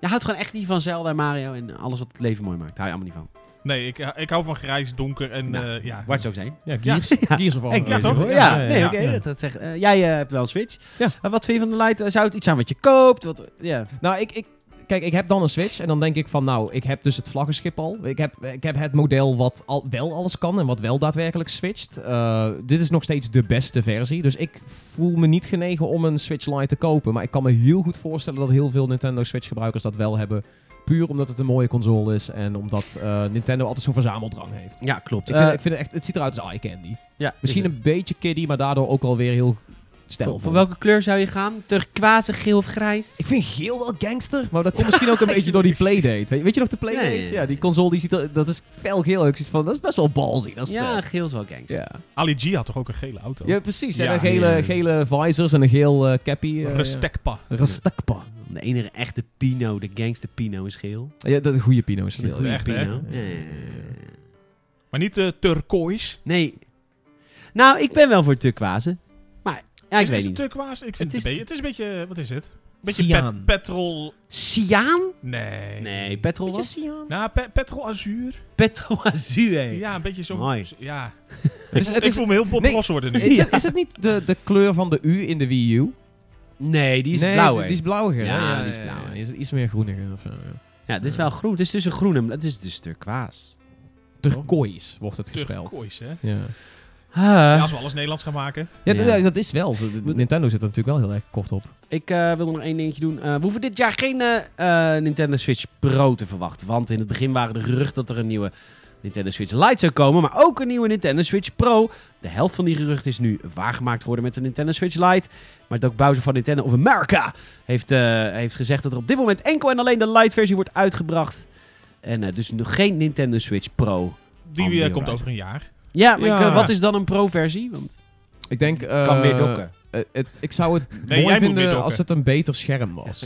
[SPEAKER 1] Je houdt gewoon echt niet van Zelda en Mario en alles wat het leven mooi maakt. Hou je allemaal niet van.
[SPEAKER 2] Nee, ik, ik hou van grijs, donker en
[SPEAKER 1] Nou,
[SPEAKER 2] eh,
[SPEAKER 3] Ah.
[SPEAKER 2] ja.
[SPEAKER 1] Wat ze ook zijn.
[SPEAKER 3] Ja, Gears, Gears of
[SPEAKER 1] Ik-
[SPEAKER 2] ja,
[SPEAKER 3] War.
[SPEAKER 2] toch?
[SPEAKER 1] Ja,
[SPEAKER 2] Ja,
[SPEAKER 1] nee,
[SPEAKER 2] ja,
[SPEAKER 1] oké. dat, dat zegt, eh, jij eh, hebt wel een Switch.
[SPEAKER 3] Ja.
[SPEAKER 1] Eh, wat vind je van de Lite? Eh, Zou het iets zijn wat je koopt? Wat, ja.
[SPEAKER 3] Nou, ik, ik, kijk, ik heb dan een Switch en dan denk ik van, nou, ik heb dus het vlaggenschip al. Ik heb, ik heb het model wat al, wel alles kan en wat wel daadwerkelijk switcht. Eh, dit is nog steeds de beste versie, dus ik voel me niet genegen om een Switch Lite te kopen. Maar ik kan me heel goed voorstellen dat heel veel Nintendo Switch gebruikers dat wel hebben. Puur omdat het een mooie console is en omdat eh, Nintendo altijd zo'n verzameldrang heeft.
[SPEAKER 1] ja, klopt.
[SPEAKER 3] Ik vind,
[SPEAKER 1] Eh,
[SPEAKER 3] ik vind het, echt, het ziet eruit als eye candy.
[SPEAKER 1] ja,
[SPEAKER 3] Misschien
[SPEAKER 1] is
[SPEAKER 3] een beetje kiddie, maar daardoor ook alweer heel stijl
[SPEAKER 1] voor
[SPEAKER 3] vond.
[SPEAKER 1] welke kleur zou je gaan? Terug kwazig, geel of grijs?
[SPEAKER 3] Ik vind geel wel gangster, maar dat komt misschien ook een beetje door die playdate. Weet, weet je nog de playdate?
[SPEAKER 1] Ja, ja, ja.
[SPEAKER 3] Ja, die console die ziet er, dat is fel geel. Ik zit van, dat is best wel balzy. Dat is
[SPEAKER 1] ja,
[SPEAKER 3] fel.
[SPEAKER 1] geel is wel gangster.
[SPEAKER 3] ja.
[SPEAKER 2] Ali G had toch ook een gele auto?
[SPEAKER 3] ja, precies.
[SPEAKER 2] Ja.
[SPEAKER 3] en een gele,
[SPEAKER 4] Ja.
[SPEAKER 3] gele visors en een geel eh, cappy. eh,
[SPEAKER 2] Restekpa.
[SPEAKER 3] ja. Rastakpa.
[SPEAKER 1] De enige echte Pino, de gangster Pino is geel.
[SPEAKER 3] Ja, dat is een goede Pino's
[SPEAKER 1] De
[SPEAKER 3] geel.
[SPEAKER 1] goede
[SPEAKER 3] ja.
[SPEAKER 2] echt, hè?
[SPEAKER 1] Pino.
[SPEAKER 3] Ja, ja, ja.
[SPEAKER 1] Eh,
[SPEAKER 2] Maar niet eh turquoise.
[SPEAKER 1] Nee. Nou, ik ben wel voor turquoise. Maar ja, ik
[SPEAKER 2] is
[SPEAKER 1] weet
[SPEAKER 2] het
[SPEAKER 1] niet.
[SPEAKER 2] turquoise? Ik vind
[SPEAKER 1] Het
[SPEAKER 2] het,
[SPEAKER 1] is-
[SPEAKER 2] een beetje- het is een beetje... Wat is het? Een beetje
[SPEAKER 3] Cyaan.
[SPEAKER 2] pet- petrol...
[SPEAKER 1] Cyaan?
[SPEAKER 2] Nee.
[SPEAKER 1] Nee, petrol was?
[SPEAKER 3] Eh, Beetje
[SPEAKER 2] Nou, pe- petrol azuur.
[SPEAKER 1] Petrol Azure.
[SPEAKER 2] Ja, een beetje zo'n...
[SPEAKER 1] Mooi.
[SPEAKER 2] Ja.
[SPEAKER 3] Het is-
[SPEAKER 2] ik,
[SPEAKER 3] het
[SPEAKER 2] ik
[SPEAKER 3] is-
[SPEAKER 2] voel me heel Bob
[SPEAKER 3] nee.
[SPEAKER 2] Ross worden nu.
[SPEAKER 3] Is, het, is het niet de, de kleur van de U in de Wii U?
[SPEAKER 1] Nee, die is
[SPEAKER 3] nee,
[SPEAKER 1] blauw.
[SPEAKER 3] die-
[SPEAKER 1] hè?
[SPEAKER 3] Die is blauwiger.
[SPEAKER 1] Ja,
[SPEAKER 3] hè?
[SPEAKER 1] die is blauw, hè?
[SPEAKER 3] Die is iets meer groeniger of zo. ja.
[SPEAKER 1] Ja, dit is wel groen. Het is tussen groen en blauw. Het is dus turquoise.
[SPEAKER 3] Turquoise wordt het gespeld. Eh?
[SPEAKER 2] Turquoise, hè?
[SPEAKER 3] Ja.
[SPEAKER 2] Ja,
[SPEAKER 1] Ah.
[SPEAKER 2] als we alles Nederlands gaan maken.
[SPEAKER 3] Ja,
[SPEAKER 1] Ja.
[SPEAKER 3] d- dat is wel. zo. De- Nintendo zit er natuurlijk wel heel erg kort op.
[SPEAKER 1] Ik eh, wil nog één dingetje doen. Eh, we hoeven dit jaar geen eh, eh, Nintendo Switch Pro te verwachten. Want in het begin waren de geruchten dat er een nieuwe Nintendo Switch Lite zou komen. Maar ook een nieuwe Nintendo Switch Pro. De helft van die geruchten is nu waargemaakt geworden met de Nintendo Switch Lite. Maar Doc Bowser van Nintendo of America heeft, eh, heeft gezegd dat er op dit moment enkel en alleen de Lite versie wordt uitgebracht. En eh, dus nog geen Nintendo Switch Pro.
[SPEAKER 2] Die
[SPEAKER 1] Andere
[SPEAKER 2] eh, komt
[SPEAKER 1] wijze.
[SPEAKER 2] over een jaar.
[SPEAKER 1] Ja, maar ik,
[SPEAKER 3] Ja.
[SPEAKER 1] eh, wat is dan een Pro-versie? Want
[SPEAKER 3] Ik denk...
[SPEAKER 1] ik kan weer dokken.
[SPEAKER 3] Eh, het, ik zou het
[SPEAKER 2] jij
[SPEAKER 3] mooi
[SPEAKER 2] moet weer
[SPEAKER 3] vinden
[SPEAKER 2] dokken.
[SPEAKER 3] als het een beter scherm was.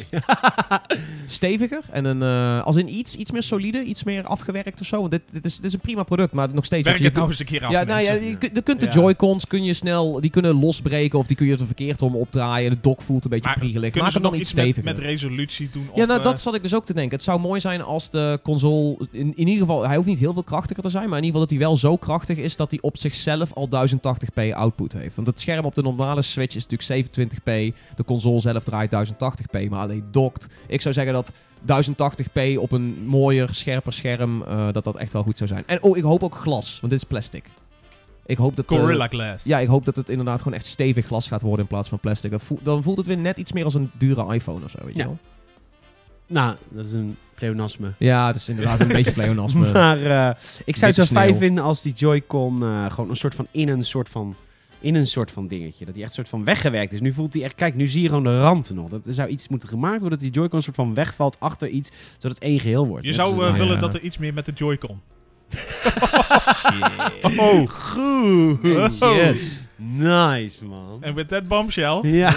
[SPEAKER 3] Steviger en een, eh, als in iets, iets meer solide, iets meer afgewerkt of zo. Want dit, dit, is, dit is een prima product, maar nog steeds...
[SPEAKER 2] Werk
[SPEAKER 3] je
[SPEAKER 2] het
[SPEAKER 3] kunt-
[SPEAKER 2] nou eens een keer af,
[SPEAKER 3] ja, nou ja,
[SPEAKER 2] mensen.
[SPEAKER 3] je, kunt- je kunt de
[SPEAKER 2] Ja.
[SPEAKER 3] Joy-Cons kun je snel, die kunnen losbreken of die kun je er verkeerd om opdraaien. De dock voelt een beetje
[SPEAKER 2] Maar
[SPEAKER 3] priegelig.
[SPEAKER 2] Kunnen
[SPEAKER 3] Maak
[SPEAKER 2] ze
[SPEAKER 3] het dan
[SPEAKER 2] nog
[SPEAKER 3] iets
[SPEAKER 2] iets met,
[SPEAKER 3] steviger.
[SPEAKER 2] met resolutie doen?
[SPEAKER 3] ja,
[SPEAKER 2] of,
[SPEAKER 3] nou,
[SPEAKER 2] eh,
[SPEAKER 3] dat zat ik dus ook te denken. Het zou mooi zijn als de console, in, in ieder geval, hij hoeft niet heel veel krachtiger te zijn, maar in ieder geval dat hij wel zo krachtig is dat hij op zichzelf al 1080p output heeft. Want het scherm op de normale Switch is natuurlijk 27p, de console zelf draait 1080p, maar alleen dokt. Ik zou zeggen dat 1080p op een mooier, scherper scherm, eh, dat dat echt wel goed zou zijn. En oh, ik hoop ook glas, want dit is plastic. Ik hoop dat... eh,
[SPEAKER 2] Gorilla Glass.
[SPEAKER 3] ja, ik hoop dat het inderdaad gewoon echt stevig glas gaat worden in plaats van plastic. Dat voelt- dan voelt het weer net iets meer als een dure iPhone of zo, weet je
[SPEAKER 1] Ja.
[SPEAKER 3] wel?
[SPEAKER 1] Nou, dat is een pleonasme.
[SPEAKER 3] Ja, het is inderdaad een beetje pleonasme.
[SPEAKER 1] Maar eh, ik zou het zo
[SPEAKER 3] Dikke
[SPEAKER 1] fijn
[SPEAKER 3] sneeuw.
[SPEAKER 1] vinden als die Joy-Con eh, gewoon een soort van in een soort van in een soort van dingetje. Dat die echt een soort van weggewerkt is. Nu voelt die echt, kijk, nu zie je gewoon de randen nog. Dat, er zou iets moeten gemaakt worden dat die Joy-Con een soort van wegvalt achter iets, zodat het één geheel wordt.
[SPEAKER 2] Je
[SPEAKER 1] Dat
[SPEAKER 2] zou
[SPEAKER 1] is-
[SPEAKER 2] eh,
[SPEAKER 3] nou
[SPEAKER 2] willen
[SPEAKER 3] ja.
[SPEAKER 2] dat er iets meer met de Joy-Con.
[SPEAKER 1] Shit.
[SPEAKER 2] Oh.
[SPEAKER 1] Goed.
[SPEAKER 2] Wow.
[SPEAKER 3] Yes.
[SPEAKER 1] Nice, man.
[SPEAKER 2] En met dat bombshell.
[SPEAKER 1] Ja.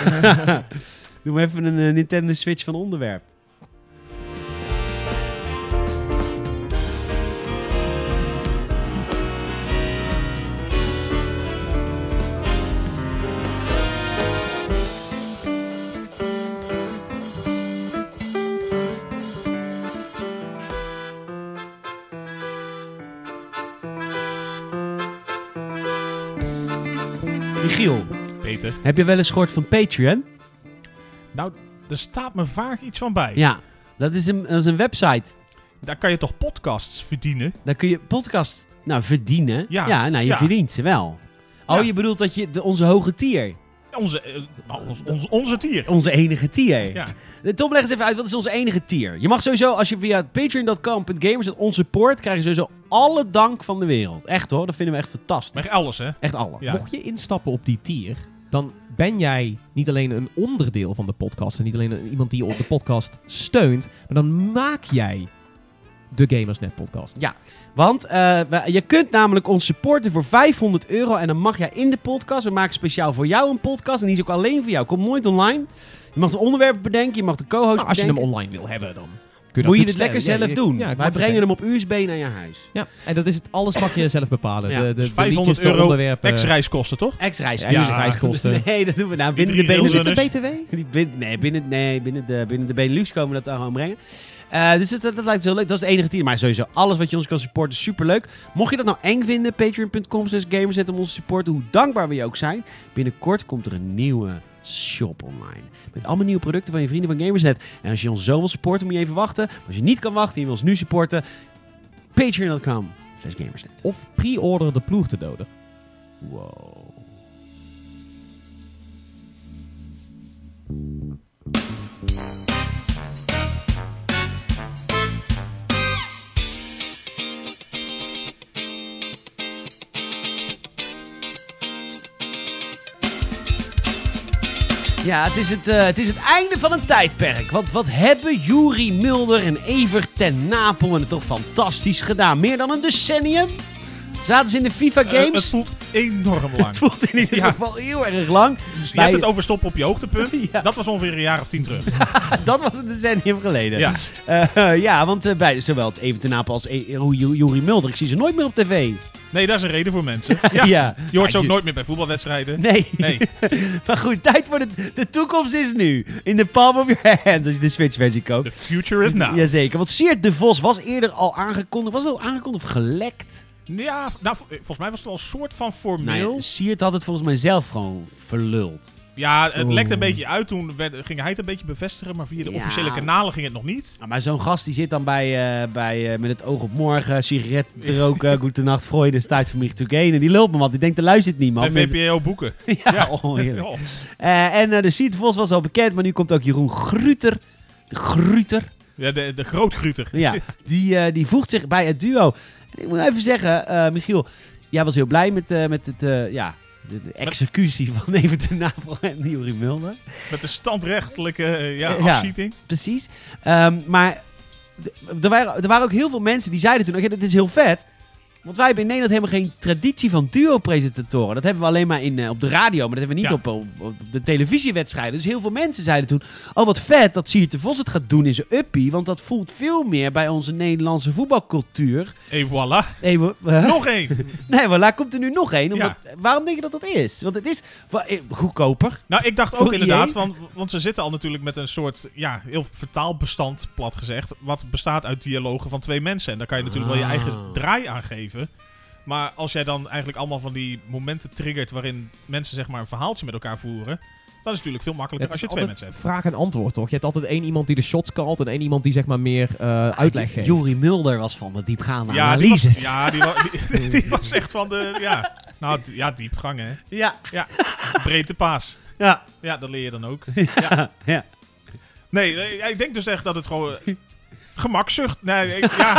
[SPEAKER 1] Doe maar even een eh, Nintendo Switch van onderwerp. Michiel,
[SPEAKER 2] Peter.
[SPEAKER 1] heb je wel eens gehoord van Patreon?
[SPEAKER 2] Nou, er staat me vaak iets van bij.
[SPEAKER 1] Ja, dat is een, dat is een website.
[SPEAKER 2] Daar kan je toch podcasts verdienen?
[SPEAKER 1] Daar kun je podcast nou, verdienen. Ja,
[SPEAKER 2] Ja,
[SPEAKER 1] nou, je
[SPEAKER 2] ja.
[SPEAKER 1] verdient ze wel. Oh,
[SPEAKER 2] Ja.
[SPEAKER 1] je bedoelt dat je de, onze hoge tier,
[SPEAKER 2] Onze, eh, nou, ons, ons, onze tier.
[SPEAKER 1] onze enige tier.
[SPEAKER 2] Ja.
[SPEAKER 1] Eh, Tom, leg eens even uit, wat is onze enige tier? Je mag sowieso, als je via patreon.com.gamers ons support, krijg je sowieso alle dank van de wereld. Echt hoor, dat vinden we echt fantastisch.
[SPEAKER 2] Maar alles, hè?
[SPEAKER 1] Echt alle.
[SPEAKER 2] Ja.
[SPEAKER 3] Mocht je instappen op die tier, dan ben jij niet alleen een onderdeel van de podcast en niet alleen een- iemand die op de podcast steunt, maar dan maak jij de Gamersnet podcast.
[SPEAKER 1] Want eh, we- je kunt namelijk ons supporten voor 500 euro en dan mag jij in de podcast. We maken speciaal voor jou een podcast en die is ook alleen voor jou. Komt nooit online. Je mag de onderwerpen bedenken, je mag de co-host
[SPEAKER 3] Nou, als je
[SPEAKER 1] bedenken.
[SPEAKER 3] hem online wil hebben, dan kun je dat
[SPEAKER 1] Moet je
[SPEAKER 3] natuurlijk
[SPEAKER 1] het lekker
[SPEAKER 3] stellen.
[SPEAKER 1] zelf
[SPEAKER 3] Ja,
[SPEAKER 1] doen.
[SPEAKER 3] ja, ik
[SPEAKER 1] Wij
[SPEAKER 3] mag
[SPEAKER 1] brengen
[SPEAKER 3] zeggen.
[SPEAKER 1] hem op USB naar je huis.
[SPEAKER 3] Ja, en dat is het. Alles mag je zelf bepalen.
[SPEAKER 1] Ja,
[SPEAKER 3] de, de,
[SPEAKER 2] dus
[SPEAKER 3] de
[SPEAKER 2] 500
[SPEAKER 3] liedjes, de
[SPEAKER 2] euro
[SPEAKER 3] onderwerpen.
[SPEAKER 2] Ex-reiskosten, toch?
[SPEAKER 1] Ex-reis.
[SPEAKER 3] Ja,
[SPEAKER 2] Ja.
[SPEAKER 3] reiskosten.
[SPEAKER 1] Nee, dat doen we nou binnen de
[SPEAKER 2] Die drie
[SPEAKER 3] Hoe
[SPEAKER 1] Benelux.
[SPEAKER 3] zit
[SPEAKER 2] Heel
[SPEAKER 3] de BTW?
[SPEAKER 1] Die bin- nee, binnen, nee binnen, de, binnen de Benelux komen we dat dan gewoon brengen. Eh, dus dat, dat, dat lijkt me heel leuk. Dat is het enige team. Maar sowieso, alles wat je ons kan supporten, superleuk. Mocht je dat nou eng vinden, patreon.com slash gamersnet om ons te supporten. Hoe dankbaar we je ook zijn. Binnenkort komt er een nieuwe shop online. Met allemaal nieuwe producten van je vrienden van Gamersnet. En als je ons zo wil supporten, moet je even wachten. Maar als je niet kan wachten en je wil ons nu supporten, patreon.com slash gamersnet.
[SPEAKER 3] Of pre-order de ploeg te doden.
[SPEAKER 1] Wow. Ja, het is het, eh, het is het einde van een tijdperk. Want wat hebben Juri Mulder en Evert ten Napel en het toch fantastisch gedaan? Meer dan een decennium? Zaten ze in de
[SPEAKER 2] Eh, het
[SPEAKER 1] FIFA-games?
[SPEAKER 2] voelt enorm lang.
[SPEAKER 1] het voelt in ieder
[SPEAKER 2] Ja.
[SPEAKER 1] geval heel erg lang.
[SPEAKER 2] Dus je
[SPEAKER 1] bij-
[SPEAKER 2] hebt het over stoppen op je hoogtepunt.
[SPEAKER 1] Ja.
[SPEAKER 2] Dat was ongeveer een jaar of tien terug.
[SPEAKER 1] Dat was een decennium geleden.
[SPEAKER 2] Ja.
[SPEAKER 1] Eh, ja, want eh, bij zowel het Evert ten Napel als E- Ju- Ju- Juri Mulder, ik zie ze nooit meer op tv.
[SPEAKER 2] Nee, daar is een reden voor mensen. Ja. Je hoort ze ook nooit meer bij voetbalwedstrijden.
[SPEAKER 1] Nee.
[SPEAKER 2] Nee.
[SPEAKER 1] maar goed, tijd voor de, de toekomst is nu. In de palm of your hands als je de Switch-versie koopt.
[SPEAKER 2] The future is now.
[SPEAKER 1] Jazeker, want Seert de Vos was eerder al aangekondigd. Was het al aangekondigd of gelekt?
[SPEAKER 2] Ja, nou, vo- eh, volgens mij was het wel een soort van
[SPEAKER 1] Nee,
[SPEAKER 2] formeel.
[SPEAKER 1] Siert had het volgens mij zelf gewoon verluld.
[SPEAKER 2] Ja, het
[SPEAKER 3] Oeh.
[SPEAKER 2] lekte een beetje uit. Toen werd, ging hij het een beetje bevestigen, maar via de
[SPEAKER 1] Ja.
[SPEAKER 2] officiële kanalen ging het nog niet.
[SPEAKER 1] Nou, maar zo'n gast die zit dan bij, eh, bij, eh, met het oog op morgen, sigaret te roken, goedenacht, Freude, stuit voor mij te gainen. En die lult me, want die denkt, er luistert
[SPEAKER 2] Bij
[SPEAKER 1] niemand. Mensen-
[SPEAKER 2] VPRO boeken.
[SPEAKER 1] ja, onheerlijk.
[SPEAKER 2] Ja.
[SPEAKER 1] en eh, de Siert Vos was al bekend, maar nu komt ook Jeroen Gruter. De Gruter.
[SPEAKER 2] Ja, de, de grootgruter.
[SPEAKER 1] Ja, die, eh, die voegt zich bij het duo. En ik moet even zeggen, eh, Michiel, jij was heel blij met, eh, met het, eh, ja, de, de executie van even de navel en Jurie Mulder.
[SPEAKER 2] Met de standrechtelijke eh, ja,
[SPEAKER 1] Eh, ja.
[SPEAKER 2] afschieting.
[SPEAKER 1] Precies. Ehm, maar d- er waren, er waren ook heel veel mensen die zeiden toen, oké, dit is heel vet. Want wij hebben in Nederland helemaal geen traditie van duo-presentatoren. Dat hebben we alleen maar in, eh, op de radio, maar dat hebben we niet op,
[SPEAKER 2] Ja.
[SPEAKER 1] eh, op- op de televisiewedstrijden. Dus heel veel mensen zeiden toen, oh wat vet dat Siert de Vos het gaat doen in zijn uppie. Want dat voelt veel meer bij onze Nederlandse voetbalcultuur.
[SPEAKER 2] En voilà.
[SPEAKER 1] Hey, we- we-
[SPEAKER 2] Nog één.
[SPEAKER 1] Nee, maar daar komt er nu nog één. Omdat, Waarom denk je dat dat is? Want het is wa- eh, goedkoper.
[SPEAKER 2] Nou, ik dacht
[SPEAKER 1] Voor
[SPEAKER 2] ook
[SPEAKER 1] EA?
[SPEAKER 2] inderdaad, van, want ze zitten al natuurlijk met een soort ja, heel vertaalbestand, plat gezegd, wat bestaat uit dialogen van twee mensen. En daar kan je natuurlijk wel je
[SPEAKER 1] Ah.
[SPEAKER 2] eigen draai aan geven. Maar als jij dan eigenlijk allemaal van die momenten triggert waarin mensen zeg maar een verhaaltje met elkaar voeren, dan is het natuurlijk veel makkelijker
[SPEAKER 3] Het
[SPEAKER 2] als
[SPEAKER 3] is
[SPEAKER 2] je twee
[SPEAKER 3] altijd
[SPEAKER 2] mensen hebt.
[SPEAKER 3] vraag en antwoord, toch? Je hebt altijd één iemand die de shots kalt en één iemand die zeg maar meer eh, uitleg geeft.
[SPEAKER 1] Juri Mulder was van de diepgaande
[SPEAKER 2] die
[SPEAKER 1] analyses.
[SPEAKER 2] was, ja die, wa- die, die was echt van de, ja, nou d- ja, diepgang hè.
[SPEAKER 1] ja.
[SPEAKER 2] Breedte paas.
[SPEAKER 1] Ja.
[SPEAKER 2] Ja, dat leer je dan ook.
[SPEAKER 1] ja.
[SPEAKER 2] Nee, nee, ja, ik denk dus echt dat het gewoon eh, gemakzucht, nee, ik- ja,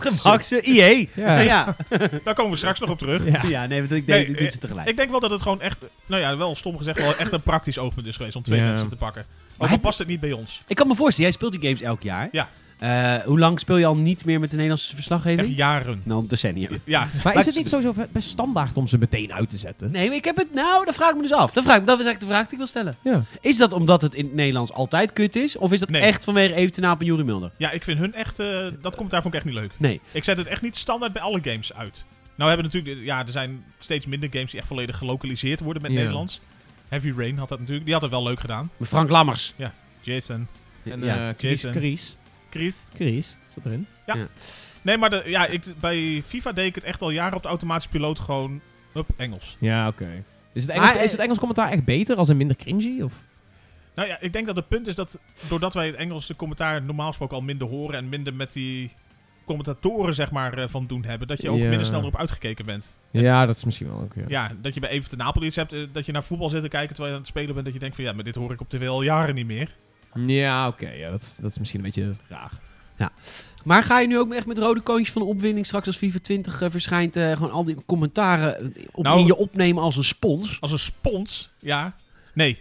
[SPEAKER 1] Gemakse, IE. Ja.
[SPEAKER 3] Ja.
[SPEAKER 1] Ja.
[SPEAKER 2] daar komen we straks nog op terug.
[SPEAKER 1] nee, want ik denk,
[SPEAKER 2] Nee, eh,
[SPEAKER 1] dit doet ze tegelijk.
[SPEAKER 2] Ik denk wel dat het gewoon echt, nou ja, wel stom gezegd, wel echt een praktisch oogpunt is geweest om twee
[SPEAKER 3] Ja.
[SPEAKER 2] mensen te pakken.
[SPEAKER 1] Maar
[SPEAKER 2] Ook
[SPEAKER 1] hij-
[SPEAKER 2] al past het niet bij ons.
[SPEAKER 1] Ik kan me voorstellen, jij speelt die games elk jaar.
[SPEAKER 2] Ja.
[SPEAKER 1] Eh, hoe lang speel je al niet meer met de Nederlandse verslaggeving?
[SPEAKER 2] Echt jaren.
[SPEAKER 1] Nou, een decennium.
[SPEAKER 2] Ja,
[SPEAKER 3] Maar is het niet sowieso best standaard om ze meteen uit te zetten?
[SPEAKER 1] Nee, maar ik heb het... Nou, dat vraag ik me dus af. Dat, vraag ik, me- dat is eigenlijk de vraag die ik wil stellen.
[SPEAKER 3] Ja.
[SPEAKER 1] Is dat omdat het in het Nederlands altijd kut is? Of is dat
[SPEAKER 2] Nee.
[SPEAKER 1] echt vanwege even ten Aap en Juri Mulder?
[SPEAKER 2] ja, ik vind hun echt, eh, dat komt daarvoor echt niet leuk.
[SPEAKER 1] Nee.
[SPEAKER 2] Ik zet het echt niet standaard bij alle games uit. Nou hebben natuurlijk, ja, er zijn steeds minder games die echt volledig gelokaliseerd worden met
[SPEAKER 3] Ja.
[SPEAKER 2] Nederlands. Heavy Rain had dat natuurlijk, die had het wel leuk gedaan.
[SPEAKER 1] Maar Frank Lammers.
[SPEAKER 2] Jason,
[SPEAKER 3] En
[SPEAKER 1] ja.
[SPEAKER 3] eh, Chris,
[SPEAKER 2] Jason.
[SPEAKER 3] Chris,
[SPEAKER 2] Chris.
[SPEAKER 3] Chris, zat erin.
[SPEAKER 2] Nee, maar de, ja, ik, bij FIFA deed ik het echt al jaren op de automatische piloot gewoon, hup, Engels.
[SPEAKER 3] Ja, oké. Is, het Engels-
[SPEAKER 1] Maar, eh,
[SPEAKER 3] is het Engels commentaar echt beter als een minder cringy? Of?
[SPEAKER 2] Nou ja, ik denk dat het punt is dat doordat wij het Engelse commentaar normaal gesproken al minder horen en minder met die commentatoren zeg maar eh, van doen hebben, dat je ook
[SPEAKER 3] Ja.
[SPEAKER 2] minder snel erop uitgekeken bent.
[SPEAKER 3] Ja, dat is misschien wel ook. Ja.
[SPEAKER 2] Ja, dat je bij Even ten Napel iets hebt, eh, dat je naar voetbal zit te kijken terwijl je aan het spelen bent, dat je denkt van ja, maar dit hoor ik op tv al jaren niet meer.
[SPEAKER 3] Ja, oké. ja, dat, is- dat is misschien een beetje raar.
[SPEAKER 1] Maar ga je nu ook echt met rode koontjes van de opwinding straks als FIFA 20 eh, verschijnt? eh, gewoon al die commentaren eh, op,
[SPEAKER 2] Nou-
[SPEAKER 1] in je opnemen als een spons?
[SPEAKER 2] Als een spons, ja. Nee.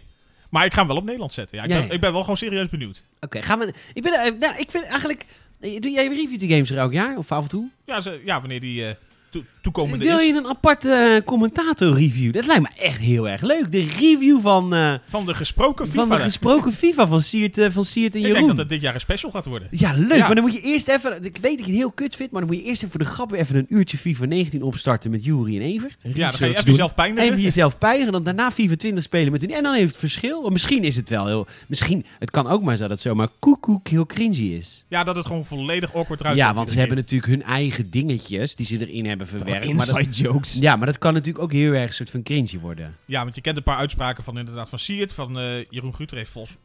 [SPEAKER 2] Maar ik ga hem wel op Nederland zetten. Ja, ik,
[SPEAKER 1] Ja,
[SPEAKER 2] ben,
[SPEAKER 1] ja.
[SPEAKER 2] ik ben wel gewoon serieus benieuwd.
[SPEAKER 1] Oké, gaan we... Ik, ben, eh, nou, ik vind eigenlijk... eh, Doe jij review de games er elk jaar? Of af en toe?
[SPEAKER 2] Ja, ze, ja wanneer die eh, toe- toekomende
[SPEAKER 1] Wil
[SPEAKER 2] is.
[SPEAKER 1] je een aparte commentator-review? Dat lijkt me echt heel erg leuk. De review van, eh,
[SPEAKER 2] Van de gesproken FIFA.
[SPEAKER 1] van de gesproken FIFA van Siert, eh, van Siert en
[SPEAKER 2] ik
[SPEAKER 1] Jeroen.
[SPEAKER 2] denk dat het dit jaar een special gaat worden.
[SPEAKER 1] Ja, leuk.
[SPEAKER 2] Ja.
[SPEAKER 1] Maar dan moet je eerst even... Ik weet dat je het heel kut vindt, maar dan moet je eerst even voor de grap weer even een uurtje FIFA 19 opstarten met Jury en Evert.
[SPEAKER 2] Ja, dan ga je even
[SPEAKER 3] doen.
[SPEAKER 2] jezelf pijn doen.
[SPEAKER 1] Even jezelf pijnigen, dan daarna 24 spelen met hun. En dan heeft het verschil. Want misschien is het wel heel. Misschien, het kan ook maar zo dat zomaar koekoek heel cringy is.
[SPEAKER 2] Ja, dat het gewoon volledig awkward eruit
[SPEAKER 1] Ja,
[SPEAKER 2] komt
[SPEAKER 1] want ze
[SPEAKER 2] iedere
[SPEAKER 1] hebben natuurlijk hun eigen dingetjes die ze erin hebben verwerkt. Maar dat,
[SPEAKER 3] Inside jokes.
[SPEAKER 1] ja, maar dat kan natuurlijk ook heel erg een soort van cringy worden.
[SPEAKER 2] Ja, want je kent een paar uitspraken van inderdaad van Siert, van eh, Jeroen Guter heeft volgens